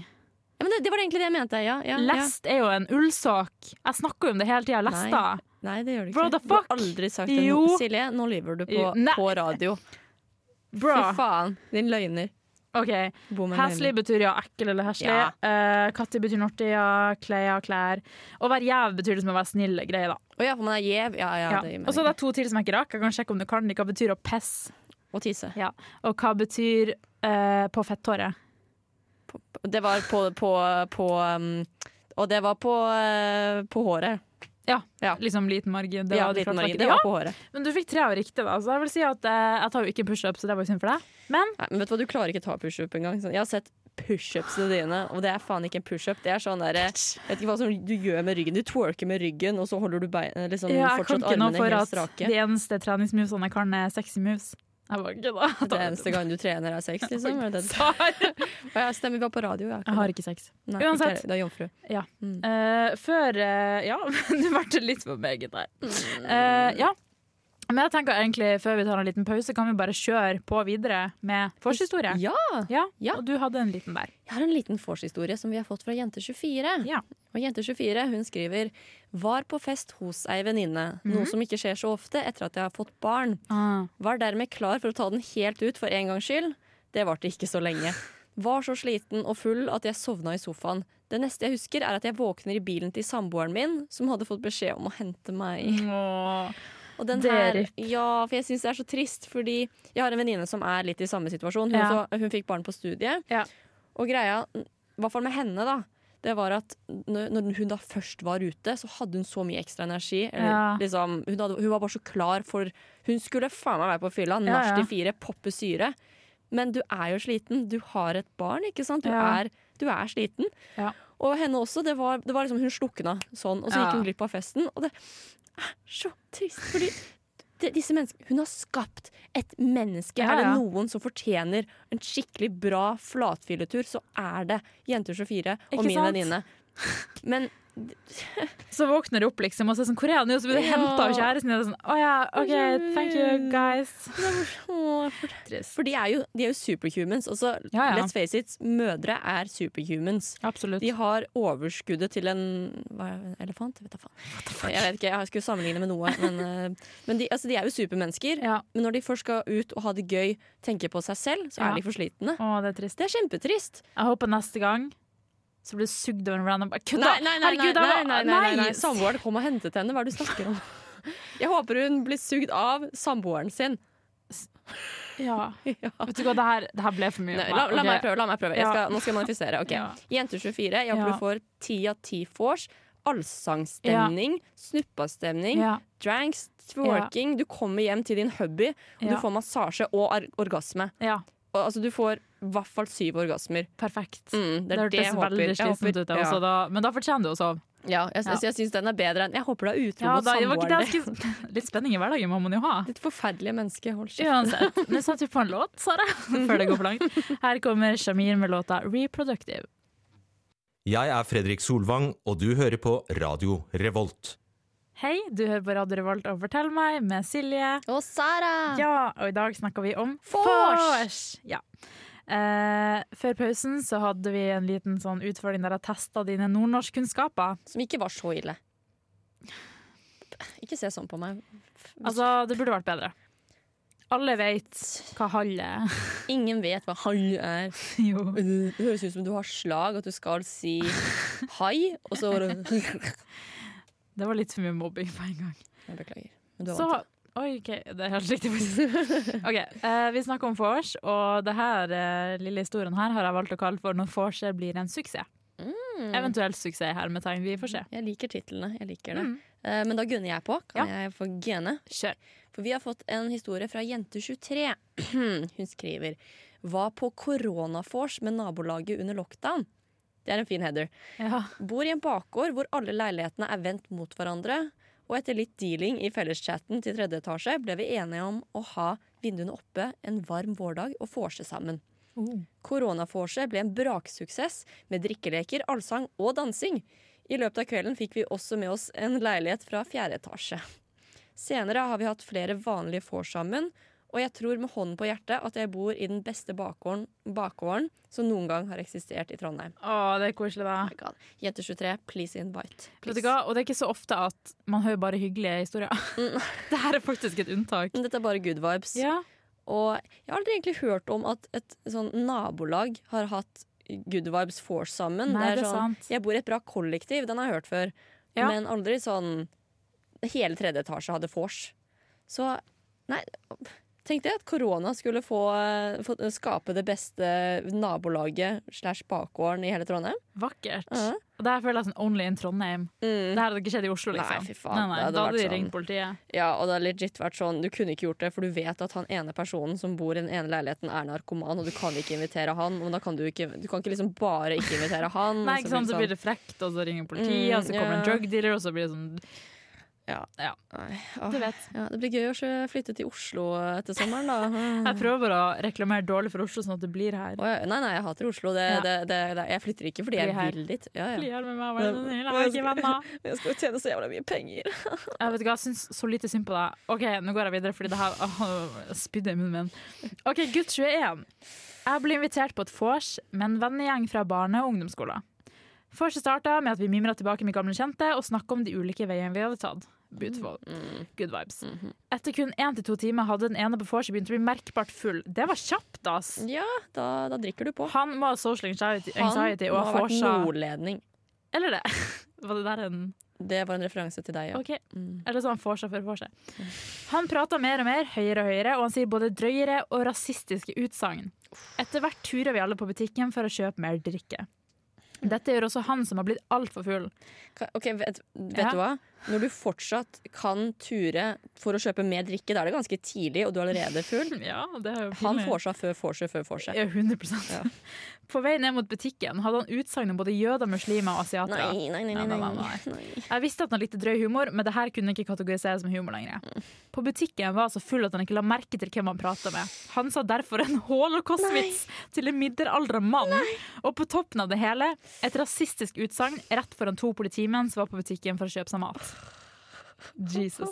Speaker 1: Ja, men det, det var egentlig det jeg mente. Ja, ja, ja.
Speaker 4: Lest er jo en ullsokk. Jeg snakker jo om det hele tida. Lesta.
Speaker 1: Nei, det gjør du ikke.
Speaker 4: Bro, the fuck?
Speaker 1: Du har aldri sagt det. nå.
Speaker 4: Jo.
Speaker 1: Silje, nå lyver du på,
Speaker 4: Jo, nei.
Speaker 1: på radio.
Speaker 4: Bra.
Speaker 1: Fy faen, din løgner.
Speaker 4: OK.
Speaker 1: Bom en
Speaker 4: Heslig
Speaker 1: løgner.
Speaker 4: betyr ja, ekkel eller heslig.
Speaker 1: Ja.
Speaker 4: Eh, Katti betyr nortig, ja. Kle, ja, klær. Å være jæv betyr liksom å være snill og grei, da.
Speaker 1: Å ja, for man er gjev. Ja, ja,
Speaker 4: Ja.
Speaker 1: det gir
Speaker 4: Og så er
Speaker 1: mening.
Speaker 4: det to til som jeg ikke rakk. Jeg kan sjekke om du kan det. Hva betyr å pisse?
Speaker 1: Og tisse.
Speaker 4: Og hva betyr eh, på fetthåret?
Speaker 1: Det var på, på, på um, Og det var på, eh, på håret.
Speaker 4: Liksom liten margin. Det
Speaker 1: ja,
Speaker 4: var, det
Speaker 1: liten
Speaker 4: klart
Speaker 1: margin.
Speaker 4: ikke-
Speaker 1: Det var på håret.
Speaker 4: Ja, men du fikk tre av riktig, da. Så jeg vil si at eh, jeg tar jo ikke pushup, så det var jo synd for deg. Men
Speaker 1: Nei, men vet du hva, du klarer ikke ta pushup engang. Sånn, jeg har sett pushupsene dine, og det er faen ikke en pushup. Det er sånn der, eh, vet ikke hva som du gjør med ryggen. Du twerker med ryggen, og så holder du bein, eh, liksom,
Speaker 4: ja, jeg kan
Speaker 1: fortsatt
Speaker 4: ikke noe
Speaker 1: armene
Speaker 4: for
Speaker 1: helt
Speaker 4: at
Speaker 1: strake.
Speaker 4: de eneste treningsmusene jeg kan, er sexy moves. Jeg var ikke da.
Speaker 1: Det eneste
Speaker 4: *laughs*
Speaker 1: gangen du trener, er sex, liksom. Er det det?
Speaker 4: Sar.
Speaker 1: Å, ja, stemmer, vi var på radio. Ja,
Speaker 4: Jeg har ikke sex.
Speaker 1: Nei,
Speaker 4: Uansett.
Speaker 1: Ikke, det er jomfru.
Speaker 4: Eh, før eh, Ja, *laughs* du ble litt for meget der. Eh, ja. Men jeg tenker egentlig før vi tar en liten pause, kan vi bare kjøre på videre med forhistorie.
Speaker 1: Ja!
Speaker 4: Ja.
Speaker 1: Ja.
Speaker 4: Og du hadde en liten der.
Speaker 1: Jeg har en liten vorshistorie som vi har fått fra Jente24.
Speaker 4: Ja.
Speaker 1: Og Jente24 hun skriver Var på fest hos ei venninne, noe som ikke skjer så ofte etter at jeg har fått barn. Var dermed klar for å ta den helt ut for en gangs skyld. Det varte ikke så lenge. Var så sliten og full at jeg sovna i sofaen. Det neste jeg husker, er at jeg våkner i bilen til samboeren min, som hadde fått beskjed om å hente meg.
Speaker 4: Åh.
Speaker 1: Og den
Speaker 4: Det er
Speaker 1: her,
Speaker 4: rip.
Speaker 1: ja, for jeg syns det er så trist, fordi jeg har en venninne som er litt i samme situasjon. Hun,
Speaker 4: Ja.
Speaker 1: også- hun fikk barn på studiet.
Speaker 4: Ja.
Speaker 1: Og greia, i hvert fall med henne, da, det var at når når hun da først var ute, så hadde hun så mye ekstra energi. Eller,
Speaker 4: Ja.
Speaker 1: liksom, hun, hadde, hun var bare så klar for Hun skulle faen meg være på fylla,
Speaker 4: Ja,
Speaker 1: nach
Speaker 4: ja.
Speaker 1: til fire, poppe syre. Men du er jo sliten. Du har et barn, ikke sant? Du,
Speaker 4: Ja.
Speaker 1: er, du er sliten.
Speaker 4: Ja.
Speaker 1: Og henne også. Det var, det var liksom Hun slukna sånn, og så
Speaker 4: Ja.
Speaker 1: gikk hun glipp av festen. Og det er så trist, fordi det, disse menneskene Hun har skapt et menneske.
Speaker 4: Ja,
Speaker 1: Er det
Speaker 4: ja.
Speaker 1: noen som fortjener en skikkelig bra flatfyletur, så er det Jenter 24 og
Speaker 4: Ikke
Speaker 1: min
Speaker 4: sant?
Speaker 1: venninne. Men
Speaker 4: Så våkner du opp, liksom, og så er det sånn Korea nå, så blir du
Speaker 1: Ja.
Speaker 4: henta av kjæresten din. og Sånn, Å ja, OK, thank you, guys.
Speaker 1: å, for, for de er jo, de er jo superhumans. Altså,
Speaker 4: Ja, ja.
Speaker 1: Let's face it, mødre er superhumans.
Speaker 4: Absolutt.
Speaker 1: De har overskuddet til en hva er det, elefant? Jeg vet, da faen. jeg vet ikke, jeg skulle sammenligne med noe. Men, eh, men de, altså, de er jo supermennesker.
Speaker 4: Ja.
Speaker 1: Men når de først skal ut og ha det gøy, tenke på seg selv, så
Speaker 4: Ja.
Speaker 1: er de for slitne.
Speaker 4: Å, det er trist.
Speaker 1: Det er kjempetrist.
Speaker 4: Jeg håper neste gang så blir du sugd av en random Kødda!
Speaker 1: Nei, nei, nei, nei, nei,
Speaker 4: Herregud, jeg var-
Speaker 1: nei, nei, sånn nei.
Speaker 4: nei.
Speaker 1: Samboeren kom og hentet henne. Hva er det du snakker om? *laughs* Jeg håper hun blir sugd av samboeren sin. *laughs*
Speaker 4: Ja.
Speaker 1: Ja.
Speaker 4: Vet du hva, det her, det her ble for mye.
Speaker 1: Nei,
Speaker 4: for
Speaker 1: la, la
Speaker 4: Ok.
Speaker 1: meg prøve. la meg prøve jeg
Speaker 4: Ja.
Speaker 1: skal, Nå skal jeg manifestere. Ok.
Speaker 4: *laughs* Ja.
Speaker 1: Jenter 24, jeg håper
Speaker 4: Ja.
Speaker 1: du får 10 av 10 vors. Allsangstemning, snuppastemning,
Speaker 4: Ja.
Speaker 1: dranks, twerking. Du kommer hjem til din hubby, og du
Speaker 4: Ja.
Speaker 1: får massasje og ar- orgasme.
Speaker 4: ja.
Speaker 1: Og, altså, du får i hvert fall syv orgasmer.
Speaker 4: Perfekt.
Speaker 1: Mm, det
Speaker 4: det
Speaker 1: er det,
Speaker 4: hørtes
Speaker 1: jeg håper.
Speaker 4: veldig
Speaker 1: Jeg
Speaker 4: slitsomt
Speaker 1: håper-
Speaker 4: ut, jeg også, da. men da fortjener du å sove.
Speaker 1: ja. ja, jeg, jeg, jeg syns den er bedre enn Jeg håper du er utro
Speaker 4: Ja,
Speaker 1: mot
Speaker 4: da, det var ikke det
Speaker 1: samboeren din.
Speaker 4: jeg skulle- *laughs* Litt spenning i hverdagen må man jo ha.
Speaker 1: Ditt forferdelige menneske. Hold kjeft.
Speaker 4: *laughs* Uansett, nå setter vi på en låt, Sara, *laughs* før det går for langt. Her kommer Shamir med låta 'Reproductive'.
Speaker 8: Jeg er Fredrik Solvang, og du hører på Radio Revolt.
Speaker 4: Hei, du hører på Radio Revolt og Fortell meg med Silje.
Speaker 1: Og Sara!
Speaker 4: Ja, og i dag snakker vi om
Speaker 1: Vors!
Speaker 4: vors. Ja. Eh, før pausen så hadde vi en liten sånn utfordring der jeg testa dine nordnorskkunnskaper.
Speaker 1: Som ikke var så ille. Ikke se sånn på meg.
Speaker 4: Altså, det burde vært bedre. Alle vet hva hall er.
Speaker 1: Ingen vet hva hai er.
Speaker 4: *laughs* Jo.
Speaker 1: Det høres ut som du har slag, at du skal
Speaker 4: *laughs*
Speaker 1: si hai, og så bare
Speaker 4: Det var litt for mye mobbing på en gang.
Speaker 1: Jeg beklager. Men du har
Speaker 4: Så
Speaker 1: vant.
Speaker 4: Oi, ok, det er helt riktig *laughs* faktisk. Ok, eh, vi snakker om vors, og det her eh, lille historien her har jeg valgt å kalle for når vorset blir en suksess. Eventuelt suksess her med tegn, vi får se.
Speaker 1: Jeg liker titlene. jeg liker
Speaker 4: Mm.
Speaker 1: det. Eh, Men da gunner jeg på. Kan jeg få gene?
Speaker 4: Kjør.
Speaker 1: For vi har fått en historie fra Jente23. *clears throat* Hun skriver Var på koronafors med nabolaget under lockdown. Det er en fin header.
Speaker 4: Ja.
Speaker 1: Bor i en bakgård hvor alle leilighetene er vendt mot hverandre. Og etter litt dealing i felleschatten til tredje etasje ble vi enige om å ha vinduene oppe en varm vårdag og vorse sammen. Koronavorset ble en braksuksess med drikkeleker, allsang og dansing. I løpet av kvelden fikk vi også med oss en leilighet fra fjerde etasje. Senere har vi hatt flere vanlige vors sammen, og jeg tror med hånden på hjertet at jeg bor i den beste bakgården, bakgården som noen gang har eksistert i Trondheim.
Speaker 4: Å, det er koselig da.
Speaker 1: God. Jente 23, please invite.
Speaker 4: Vet du
Speaker 1: Please.
Speaker 4: hva? Og det er ikke så ofte at man hører bare hyggelige historier. *laughs* det her er faktisk et unntak.
Speaker 1: Dette er bare good vibes.
Speaker 4: Mm. Ja.
Speaker 1: Og jeg har aldri egentlig hørt om at et sånn nabolag har hatt good vibes force sammen.
Speaker 4: Nei, det er
Speaker 1: sånn,
Speaker 4: sant.
Speaker 1: Jeg bor i et bra kollektiv, den har jeg hørt før.
Speaker 4: Ja.
Speaker 1: Men aldri sånn Hele tredje etasje hadde vors. Så nei Tenkte jeg at korona skulle få, få skape det beste nabolaget slash bakgården i hele Trondheim.
Speaker 4: Vakkert.
Speaker 1: Ja. Mm.
Speaker 4: Og det her føler jeg sånn only in Trondheim. Det her hadde ikke skjedd i Oslo,
Speaker 1: Nei,
Speaker 4: liksom.
Speaker 1: fy faen,
Speaker 4: Nei, nei,
Speaker 1: det hadde
Speaker 4: da hadde
Speaker 1: vært
Speaker 4: de
Speaker 1: sånn-
Speaker 4: ringt politiet.
Speaker 1: Ja, og det har legit vært sånn Du kunne ikke gjort det, for du vet at han ene personen som bor i den ene leiligheten, er narkoman, og du kan ikke invitere han. Men da kan du ikke Du kan ikke liksom bare ikke invitere han.
Speaker 4: *laughs*
Speaker 1: liksom-
Speaker 4: Nei,
Speaker 1: og
Speaker 4: ikke sant, så blir det frekt, og så ringer
Speaker 1: sånn.
Speaker 4: politiet,
Speaker 1: Mm,
Speaker 4: og så kommer
Speaker 1: ja.
Speaker 4: en drug dealer, og så blir det sånn
Speaker 1: Ja. Nei, åh.
Speaker 4: Du vet.
Speaker 1: Ja, det blir gøy å sjø- flytte til Oslo etter sommeren, da. Mm.
Speaker 4: *laughs* Jeg prøver å reklamere dårlig for Oslo, sånn at det blir her.
Speaker 1: Å, ja. Nei, nei, jeg hater Oslo. Det,
Speaker 4: Ja.
Speaker 1: det, det, det, jeg flytter ikke fordi jeg
Speaker 4: Bli her.
Speaker 1: vil dit. Ja,
Speaker 4: Bli
Speaker 1: ja.
Speaker 4: her med meg, vær så snill, jeg er ikke venner.
Speaker 1: Jeg skal jo tjene så jævla mye
Speaker 4: *laughs*
Speaker 1: penger.
Speaker 4: Jeg vet ikke, jeg syns så lite synd på deg. OK, nå går jeg videre, fordi det her *laughs* åh, jeg spydde i munnen min. OK, gutt 21. Jeg ble invitert på et vors med en vennegjeng fra barne- og ungdomsskolen. Vorset starta med at vi mimra tilbake med gamle kjente og snakka om de ulike veiene vi hadde tatt. Beautiful.
Speaker 1: Mm,
Speaker 4: Good vibes.
Speaker 1: Mhm.
Speaker 4: Etter kun én til to timer hadde den ene på vorset begynt å bli merkbart full. Det var kjapt, ass!
Speaker 1: Ja, da, da drikker du på.
Speaker 4: Han må ha social anxiety,
Speaker 1: Han
Speaker 4: anxiety og
Speaker 1: må ha vært
Speaker 4: forsa
Speaker 1: nordledning.
Speaker 4: Eller det. *laughs* Var det der en
Speaker 1: Det var en referanse til deg, ja. Mm.
Speaker 4: OK. Eller så han forsa for forsa. Han prater mer og mer, høyere og høyere, og han sier både drøyere og rasistiske utsagn. Etter hvert turer vi alle på butikken for å kjøpe mer drikke. Dette gjør også han som har blitt altfor full.
Speaker 1: Ka- Ok, vet, vet
Speaker 4: Ja.
Speaker 1: du hva? Når du fortsatt kan ture for å kjøpe mer drikke, da er det ganske tidlig, og du er allerede full.
Speaker 4: Ja, det er jo
Speaker 1: Han får seg før får seg før får seg.
Speaker 4: Mm. Ja, 100
Speaker 1: Ja.
Speaker 4: *laughs* På vei ned mot butikken hadde han utsagn om både jøder, muslimer og asiatere.
Speaker 1: Nei, nei, nei, nei,
Speaker 4: Nei,
Speaker 1: nei,
Speaker 4: nei, nei, Jeg visste at han likte drøy humor, men det her kunne ikke kategoriseres som humor lenger. På butikken var han så full at han ikke la merke til hvem han prata med. Han sa derfor en holocaustvits til en middelaldra mann. Og på toppen av det hele, et rasistisk utsagn rett foran to politimenn som var på butikken for å kjøpe seg mat. Jesus.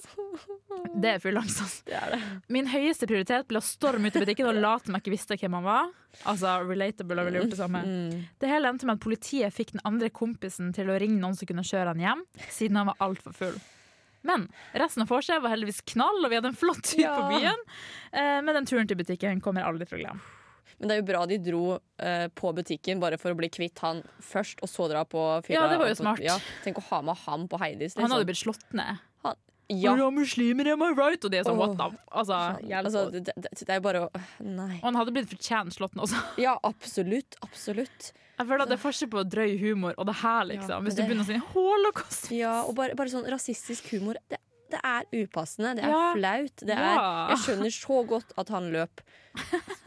Speaker 4: Det er full angst, altså.
Speaker 1: Det er det.
Speaker 4: Min høyeste prioritet ble å storme ut i butikken og late som jeg ikke visste hvem han var. Altså, relatable og ville gjort det samme.
Speaker 1: Mm.
Speaker 4: Det hele endte med at politiet fikk den andre kompisen til å ringe noen som kunne kjøre han hjem, siden han var altfor full. Men resten av vorset var heldigvis knall, og vi hadde en flott tur på byen. Eh, Men den turen til butikken kommer jeg aldri til å glemme.
Speaker 1: Men det er jo bra de dro eh, på butikken bare for å bli kvitt han først, og så dra på fylla.
Speaker 4: Ja, det var jo
Speaker 1: og på-
Speaker 4: smart.
Speaker 1: Ja, tenk å ha med ham på Heidis. liksom.
Speaker 4: Han hadde blitt slått ned.
Speaker 1: ja.
Speaker 4: «Are you muslimer, am I right? Og de er sånn,
Speaker 1: Åh.
Speaker 4: what the Altså, hjelp.
Speaker 1: altså, det, det, det er jo bare å Nei.
Speaker 4: og han hadde blitt fortjent slått ned også.
Speaker 1: Ja, absolutt. Absolutt.
Speaker 4: Jeg føler at Det er forskjell på drøy humor og det her,
Speaker 1: Ja,
Speaker 4: liksom.
Speaker 1: men
Speaker 4: Hvis du
Speaker 1: det-
Speaker 4: begynner å si holocaust
Speaker 1: Ja, og bare, bare sånn rasistisk humor. Det, det er upassende, det er
Speaker 4: Ja.
Speaker 1: flaut. Det er,
Speaker 4: Ja.
Speaker 1: jeg skjønner så godt at han løp.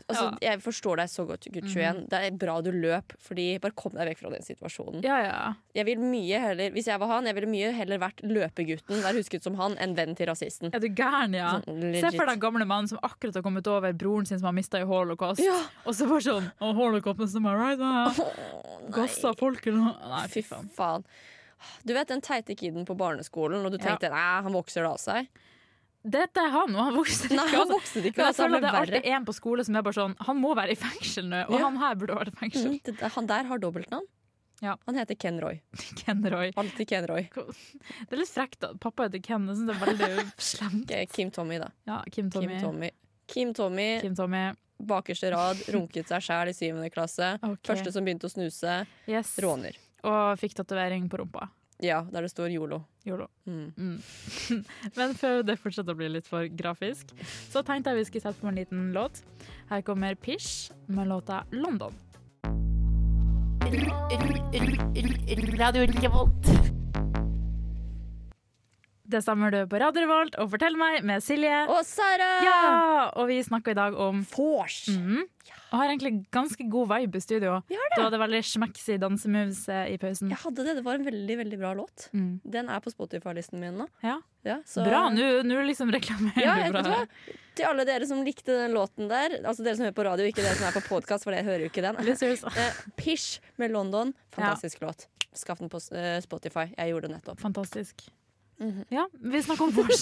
Speaker 1: Altså, Jeg forstår deg så godt, gutt 21. Det er bra du løp, Fordi bare kom deg vekk fra den situasjonen.
Speaker 4: Mhm. Ja, ja.
Speaker 1: Jeg vil mye heller, Hvis jeg var han, jeg ville mye heller vært løpegutten, vær husket som han, enn venn til rasisten.
Speaker 4: Er du gæren, ja?
Speaker 1: Sånn,
Speaker 4: Se for
Speaker 1: legit.
Speaker 4: deg den gamle mannen som akkurat har kommet over broren sin som har mista i holocaust.
Speaker 1: Ja.
Speaker 4: Og så bare sånn Å, holocausten som er right now. Gassa folk eller noe. Nei,
Speaker 1: Fy faen. Du vet den teite kiden på barneskolen, og du
Speaker 4: Ja.
Speaker 1: tenkte nei, han vokser det av
Speaker 4: *laughs*
Speaker 1: seg?
Speaker 4: Dette er han, og han vokser ikke.
Speaker 1: Nei, han
Speaker 4: altså.
Speaker 1: vokste det ikke
Speaker 4: Men
Speaker 1: av
Speaker 4: jeg
Speaker 1: seg, han
Speaker 4: føler at det
Speaker 1: ble
Speaker 4: er
Speaker 1: verre.
Speaker 4: alltid en på skole som er bare sånn Han må være i fengsel nå, og
Speaker 1: Ja.
Speaker 4: han her burde vært i fengsel.
Speaker 1: Mm, det, han der har dobbeltnavn.
Speaker 4: Ja.
Speaker 1: Han heter Ken Roy.
Speaker 4: Ken Roy.
Speaker 1: Alltid Ken Roy.
Speaker 4: Det er litt frekt at pappa heter Ken. Jeg synes det er veldig
Speaker 1: *laughs*
Speaker 4: slemt.
Speaker 1: Ok, Kim Tommy, da.
Speaker 4: Ja, Kim Tommy.
Speaker 1: Kim Tommy. Kim Tommy,
Speaker 4: Kim Tommy.
Speaker 1: bakerste rad, runket seg sjæl i syvende klasse.
Speaker 4: *laughs* Ok.
Speaker 1: Første som begynte å snuse,
Speaker 4: Yes.
Speaker 1: råner.
Speaker 4: Og fikk tatovering på rumpa.
Speaker 1: Ja, der det står Yolo.
Speaker 4: Yolo.
Speaker 1: Mm.
Speaker 4: *laughs* Men før det fortsetter å bli litt for grafisk, så tenkte jeg vi skulle sette på en liten låt. Her kommer Pish med låta 'London'. Det stemmer du på Radio Revolt og Fortell meg med Silje.
Speaker 1: Og Sara!
Speaker 4: Ja, og vi snakker i dag om
Speaker 1: Vors!
Speaker 4: Mhm. Og har egentlig ganske god vibe i studio.
Speaker 1: Vi har
Speaker 4: Du
Speaker 1: det.
Speaker 4: hadde veldig smeksy dansemoves eh, i pausen.
Speaker 1: Jeg hadde det. Det var en veldig, veldig bra låt.
Speaker 4: Mm.
Speaker 1: Den er på Spotify-listen min nå.
Speaker 4: Ja.
Speaker 1: Ja, så-
Speaker 4: Bra, nå nå liksom reklamerer
Speaker 1: Ja,
Speaker 4: du
Speaker 1: jeg,
Speaker 4: bra.
Speaker 1: vet du hva? Til alle dere som likte den låten der, altså dere som hører på radio, ikke dere som er på podkast, for jeg hører jo ikke den.
Speaker 4: Losers.
Speaker 1: Eh, Pish med London. Fantastisk låt. Skaff den på eh, Spotify. Jeg gjorde det nettopp.
Speaker 4: Fantastisk.
Speaker 1: Mhm.
Speaker 4: Ja, vi snakker
Speaker 1: *laughs*
Speaker 4: om vors.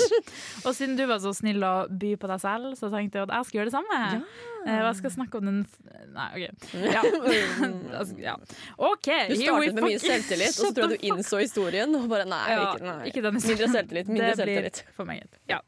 Speaker 4: og siden du var så snill å by på deg selv, så tenkte jeg at jeg skal gjøre det samme. Eh, Og jeg skal snakke om den f- Nei, OK. Ja.
Speaker 1: *laughs*
Speaker 4: Jeg skal- ja. OK,
Speaker 1: Du
Speaker 4: here we
Speaker 1: startet med mye
Speaker 4: fucking-
Speaker 1: selvtillit, og så tror jeg du innså historien. Og bare, nei,
Speaker 4: Ja,
Speaker 1: ikke, nei.
Speaker 4: ikke denne
Speaker 1: Mindre selvtillit. Mindre
Speaker 4: det blir
Speaker 1: selvtillit.
Speaker 4: for meget. Ja.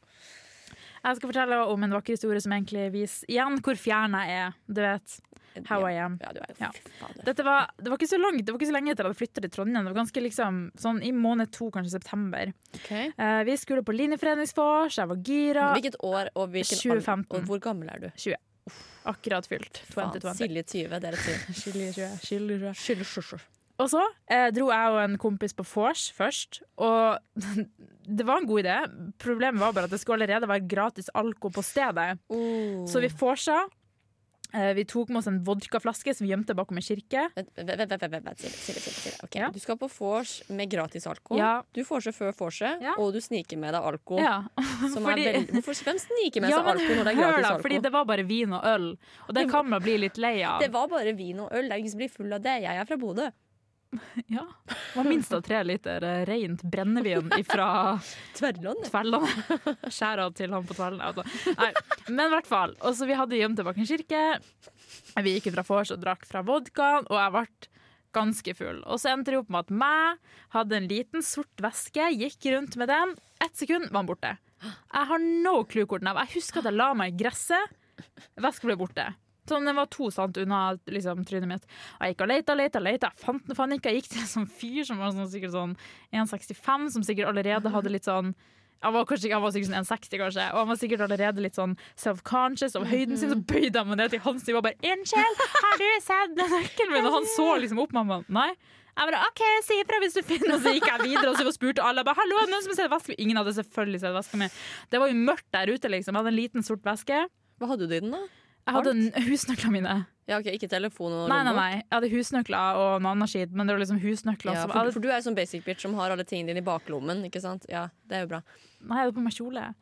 Speaker 4: Jeg skal fortelle om en vakker historie som egentlig viser igjen hvor fjern jeg er. Du vet, how I am.
Speaker 1: Ja, du er jo
Speaker 4: Ja.
Speaker 1: fader.
Speaker 4: Dette var, det, var ikke så langt, det var ikke så lenge etter at jeg flyttet til Trondheim. Det var ganske liksom, sånn I måned to, kanskje september.
Speaker 1: Ok.
Speaker 4: Eh, vi skulle på linjeforeningsvors, jeg var gira.
Speaker 1: Hvilket år og hvilken alder-
Speaker 4: 2015.
Speaker 1: Og hvor gammel er du?
Speaker 4: Akkurat fylt.
Speaker 1: Faen,
Speaker 4: 2020.
Speaker 1: Silje 20, dere 20.
Speaker 4: Og så eh, dro jeg og en kompis på vors først, og *laughs* det var en god idé. Problemet var bare at det skulle allerede være gratis alko på stedet. *laughs*
Speaker 1: Oh.
Speaker 4: Så vi vorsa. Eh, vi tok med oss en vodkaflaske som vi gjemte bakom en kirke.
Speaker 1: Vent, vent, vent, vent, vent, vent, Silje, Silje, Silje, Silje. Ok,
Speaker 4: Ja.
Speaker 1: Du skal på vors med gratis alko.
Speaker 4: Ja.
Speaker 1: Du vorser før vorset,
Speaker 4: Ja.
Speaker 1: og du sniker med deg alko.
Speaker 4: Ja,
Speaker 1: Som
Speaker 4: fordi-
Speaker 1: er veldig, hvorfor, hvem sniker med
Speaker 4: ja
Speaker 1: seg
Speaker 4: men
Speaker 1: Oh, alko når det er
Speaker 4: hør
Speaker 1: gratis
Speaker 4: da,
Speaker 1: alko?
Speaker 4: fordi det var bare vin og øl, og det kan man bli litt lei av.
Speaker 1: Det var bare vin og øl. Det er ingen som blir full av det. Jeg er fra Bodø.
Speaker 4: Ja, det var minst av tre liter eh, rent brennevin ifra
Speaker 1: Tverrland.
Speaker 4: Tvelland. Skjæra til han på Tvelland. Altså. Nei, Men i hvert fall. Og så vi hadde gjemt tilbake en kirke. Vi gikk fra vors og drakk fra vodkaen, og jeg ble ganske full. Og så endte det opp med at meg hadde en liten sort veske, gikk rundt med den. Ett sekund var den borte. Jeg har no clue hvor den er. Jeg husker at jeg la meg i gresset. Veska ble borte. Sånn, Den var to sant unna liksom, trynet mitt. Og jeg gikk og leita, leita, leita. Jeg fant den faen ikke. Jeg gikk til en sånn fyr som var sånn, sikkert sånn 1,65, som sikkert allerede hadde litt sånn han var, kanskje, han var sikkert sånn 1,60, kanskje, og han var sikkert allerede litt sånn self-conscious over høyden sin. Så bøyde jeg meg ned til hans nivå og bare 'Unnskyld, har du sett den nøkkelen min?' Og han så liksom opp med meg. Nei. Jeg bare 'OK, si ifra hvis du finner den.' Og så gikk jeg videre og så spurte alle. Jeg bare 'Hallo, er det noen som har sett vesken min?' Ingen hadde selvfølgelig sett vesken min. Det var jo mørkt der ute, liksom. Jeg hadde en liten, sort veske.
Speaker 1: Hva hadde du i den, da?
Speaker 4: Jeg hadde n- husnøklene mine.
Speaker 1: Ja, ok, Ikke telefon og
Speaker 4: Nei, nei,
Speaker 1: lommebok.
Speaker 4: nei. Jeg hadde husnøkler og noe annet skit, men det var liksom husnøkler.
Speaker 1: Ja,
Speaker 4: som-
Speaker 1: for,
Speaker 4: jeg,
Speaker 1: for du er jo sånn basic bitch som har alle tingene dine i baklommen. ikke sant? Ja, det er jo bra.
Speaker 4: hadde, nei, jeg hadde på meg kjole.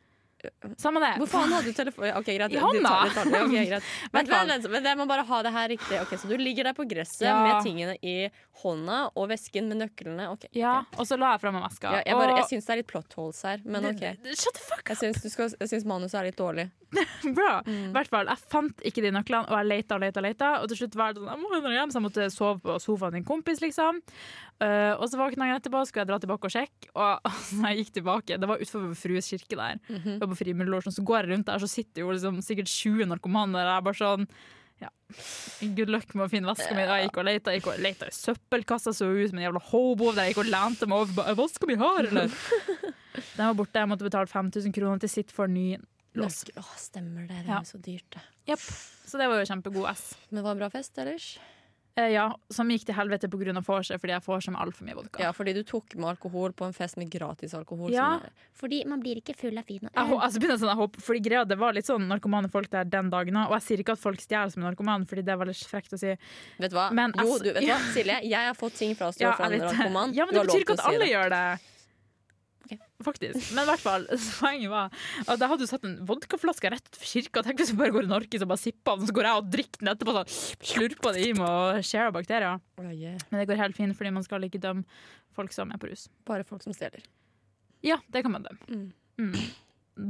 Speaker 4: Samme det.
Speaker 1: Hvor faen hadde du telefon? Ja, Ok, greit.
Speaker 4: I
Speaker 1: du tar- du tar
Speaker 4: hånda.
Speaker 1: det. Ok,
Speaker 4: *laughs*
Speaker 1: greit.
Speaker 4: Hvert
Speaker 1: Vent,
Speaker 4: fall.
Speaker 1: vent, vent, men jeg må bare ha det her riktig. Ok, Så du ligger der på gresset
Speaker 4: Ja.
Speaker 1: med tingene i hånda og vesken med nøklene. Ok,
Speaker 4: Ja,
Speaker 1: ok.
Speaker 4: og så la jeg fra meg veska.
Speaker 1: Ja, jeg bare,
Speaker 4: og-
Speaker 1: jeg syns det er litt plot holes her, men OK.
Speaker 4: Shut the fuck
Speaker 1: Jeg syns, du skal, jeg syns manuset er litt dårlig.
Speaker 4: *laughs* Bra. I hvert fall, jeg fant ikke de nøklene, og jeg leita og leita, leita, og til slutt var det sånn Jeg må dra hjem, så jeg måtte sove på sofaen til en kompis, liksom. Eh, og så våkna jeg etterpå, skulle jeg dra tilbake og sjekke, og *laughs* altså, når jeg gikk tilbake Det var utenfor vår frues kirke der. Jeg var på Frimurlosjen, så går jeg rundt der, så sitter jo liksom sikkert 20 narkomane der, og jeg er bare sånn ja, Good luck med å finne veska mi. Og Jeg gikk og leita, gikk og leita i søppelkassa, så ut som en jævla hobo. Der jeg gikk og lente meg over. bare, «Er Veska mi her, *laughs* eller? Den var borte. Jeg måtte betale 5000 kroner til sitt for ny lås.
Speaker 1: Nøkkel- Åh, stemmer det. Det
Speaker 4: Ja.
Speaker 1: er jo så dyrt, det.
Speaker 4: Jepp. Så det var jo kjempegod S.
Speaker 1: Men det var en bra fest ellers?
Speaker 4: Eh, ja, som gikk til helvete pga. vorset, fordi jeg får som altfor mye vodka.
Speaker 1: Ja, fordi du tok med alkohol på en fest med gratis alkohol.
Speaker 4: Ja.
Speaker 1: som er- Fordi man blir ikke full av vin og
Speaker 4: Jeg, hå-
Speaker 1: øl.
Speaker 4: altså, begynner sånn, jeg håper, fordi greia Det var litt sånn narkomane folk der den dagen òg. Og jeg sier ikke at folk stjeler som narkoman, fordi det er veldig frekt å si.
Speaker 1: Vet du hva?
Speaker 4: Men
Speaker 1: jo,
Speaker 4: ass-
Speaker 1: du, vet du hva, Silje, jeg har fått ting fra å stå
Speaker 4: Ja,
Speaker 1: fra
Speaker 4: jeg
Speaker 1: andre
Speaker 4: vet det.
Speaker 1: narkoman.
Speaker 4: Ja, men
Speaker 1: Du
Speaker 4: det
Speaker 1: har lov
Speaker 4: betyr ikke
Speaker 1: til å
Speaker 4: at
Speaker 1: si
Speaker 4: alle
Speaker 1: det.
Speaker 4: gjør det.
Speaker 1: Ok.
Speaker 4: Faktisk. Men i hvert fall, *laughs* poenget var at jeg hadde jo satt en vodkaflaske rett utenfor kirka. Tenk hvis jeg bare går i narkis og bare sipper den, så går jeg og drikker den etterpå. Så slurper det i meg og sharer bakterier.
Speaker 1: Å, yeah.
Speaker 4: Men det går helt fint, fordi man skal ikke dømme folk som er på rus.
Speaker 1: Bare folk som stjeler.
Speaker 4: Ja, det kan man dømme.
Speaker 1: Mm.
Speaker 4: Mm.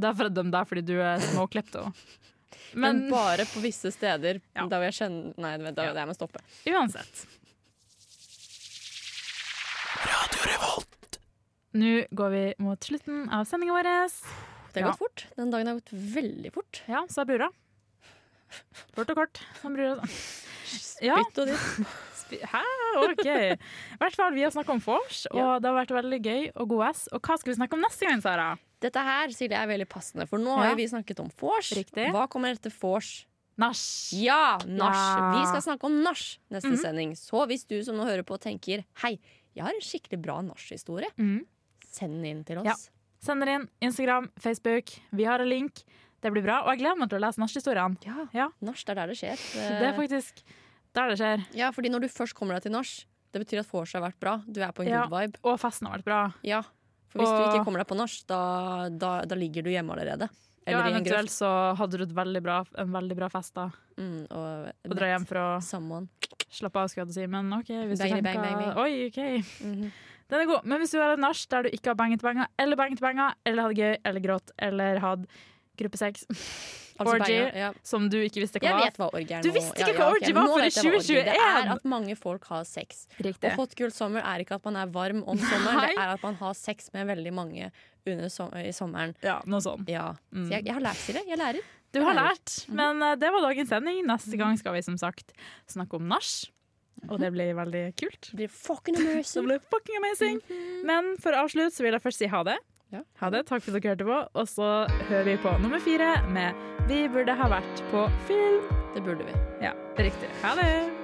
Speaker 4: Derfor er de der fordi du er småklepto.
Speaker 1: *laughs* Men,
Speaker 4: Men
Speaker 1: bare på visse steder.
Speaker 4: Ja.
Speaker 1: Da vil jeg kjenne Nei, vent, da,
Speaker 4: Ja.
Speaker 1: jeg må stoppe.
Speaker 4: uansett. Nå går vi mot slutten av sendinga vår.
Speaker 1: Det har
Speaker 4: Ja.
Speaker 1: gått fort. Den dagen har gått veldig fort.
Speaker 4: Ja, sa brura. Kort og kort, sa brura. Ja.
Speaker 1: Bytt og ditt.
Speaker 4: spi- Hæ? OK. I hvert fall, vi har snakka om vors, og
Speaker 1: Ja.
Speaker 4: det har vært veldig gøy og god S. Og hva skal vi snakke om neste gang, Sara?
Speaker 1: Dette her Silje, er veldig passende, for nå har
Speaker 4: Ja.
Speaker 1: jo vi snakket om vors.
Speaker 4: Riktig.
Speaker 1: Hva kommer etter vors?
Speaker 4: Nach.
Speaker 1: Ja, nach!
Speaker 4: Ja. Mhm.
Speaker 1: Vi skal snakke om nach neste sending. Så hvis du som nå hører på tenker hei, jeg har en skikkelig bra nachhistorie,
Speaker 4: Mhm.
Speaker 1: send den inn til oss.
Speaker 4: Ja. Sender inn Instagram, Facebook. Vi har en link. Det blir bra. Og jeg gleder meg til å lese nachhistoriene.
Speaker 1: Ja, Eh.
Speaker 4: Ja.
Speaker 1: Nach, det er der det skjer.
Speaker 4: *laughs* Det er faktisk der det skjer.
Speaker 1: ja, fordi når du først kommer deg til nach, det betyr at vors har vært bra. Du er på en
Speaker 4: Ja.
Speaker 1: good vibe.
Speaker 4: Og festen har vært bra.
Speaker 1: Ja, For hvis du
Speaker 4: Og-
Speaker 1: ikke kommer deg på nach, da, da, da ligger du hjemme allerede.
Speaker 4: Ja,
Speaker 1: Eller i en
Speaker 4: eventuelt
Speaker 1: grøft.
Speaker 4: så hadde du et veldig bra, en veldig bra fest da.
Speaker 1: Mm, og,
Speaker 4: Og dra hjem for å
Speaker 1: Someone.
Speaker 4: slappe av, skulle jeg til å si. Men OK, hvis
Speaker 1: Bang,
Speaker 4: du
Speaker 1: bang,
Speaker 4: tenker
Speaker 1: bang, bang. Mhm.
Speaker 4: Oi, OK. Den er god. Men hvis du har en nach der du ikke har banget banger, eller banget banger, eller hadde gøy, eller grått, eller hadde gruppe sex,
Speaker 1: Altså,
Speaker 4: orgy,
Speaker 1: banger, ja.
Speaker 4: *laughs* som du ikke visste hva
Speaker 1: Jeg
Speaker 4: var
Speaker 1: vet hva orgi er
Speaker 4: Du
Speaker 1: nå.
Speaker 4: visste ikke hva
Speaker 1: ok, men
Speaker 4: orgy var
Speaker 1: nå
Speaker 4: før
Speaker 1: vet jeg hva orgy er. Det
Speaker 4: 2021.
Speaker 1: er at mange folk har sex. Og
Speaker 4: Riktig.
Speaker 1: hot girl summer er ikke at man er varm om sommeren, det
Speaker 4: Nei.
Speaker 1: er at man har sex med veldig mange under som i sommeren.
Speaker 4: Ja, noe sånn.
Speaker 1: Ja. Så jeg, jeg har lært til det. Jeg lærer.
Speaker 4: Du har lært, men eh, det var dagens sending. Neste gang skal vi som sagt snakke om nach, og det blir veldig kult.
Speaker 1: Det blir fucking
Speaker 4: *laughs* Så
Speaker 1: immersive.
Speaker 4: det ble fucking amazing. Men for å avslutte så vil jeg først si ha det.
Speaker 1: Mhm. Ja.
Speaker 4: Ha det, Takk for at dere hørte på. Og så hører vi på nummer fire med 'Vi burde ha vært på film'.
Speaker 1: Det burde vi.
Speaker 4: Ja, riktig. Ha det.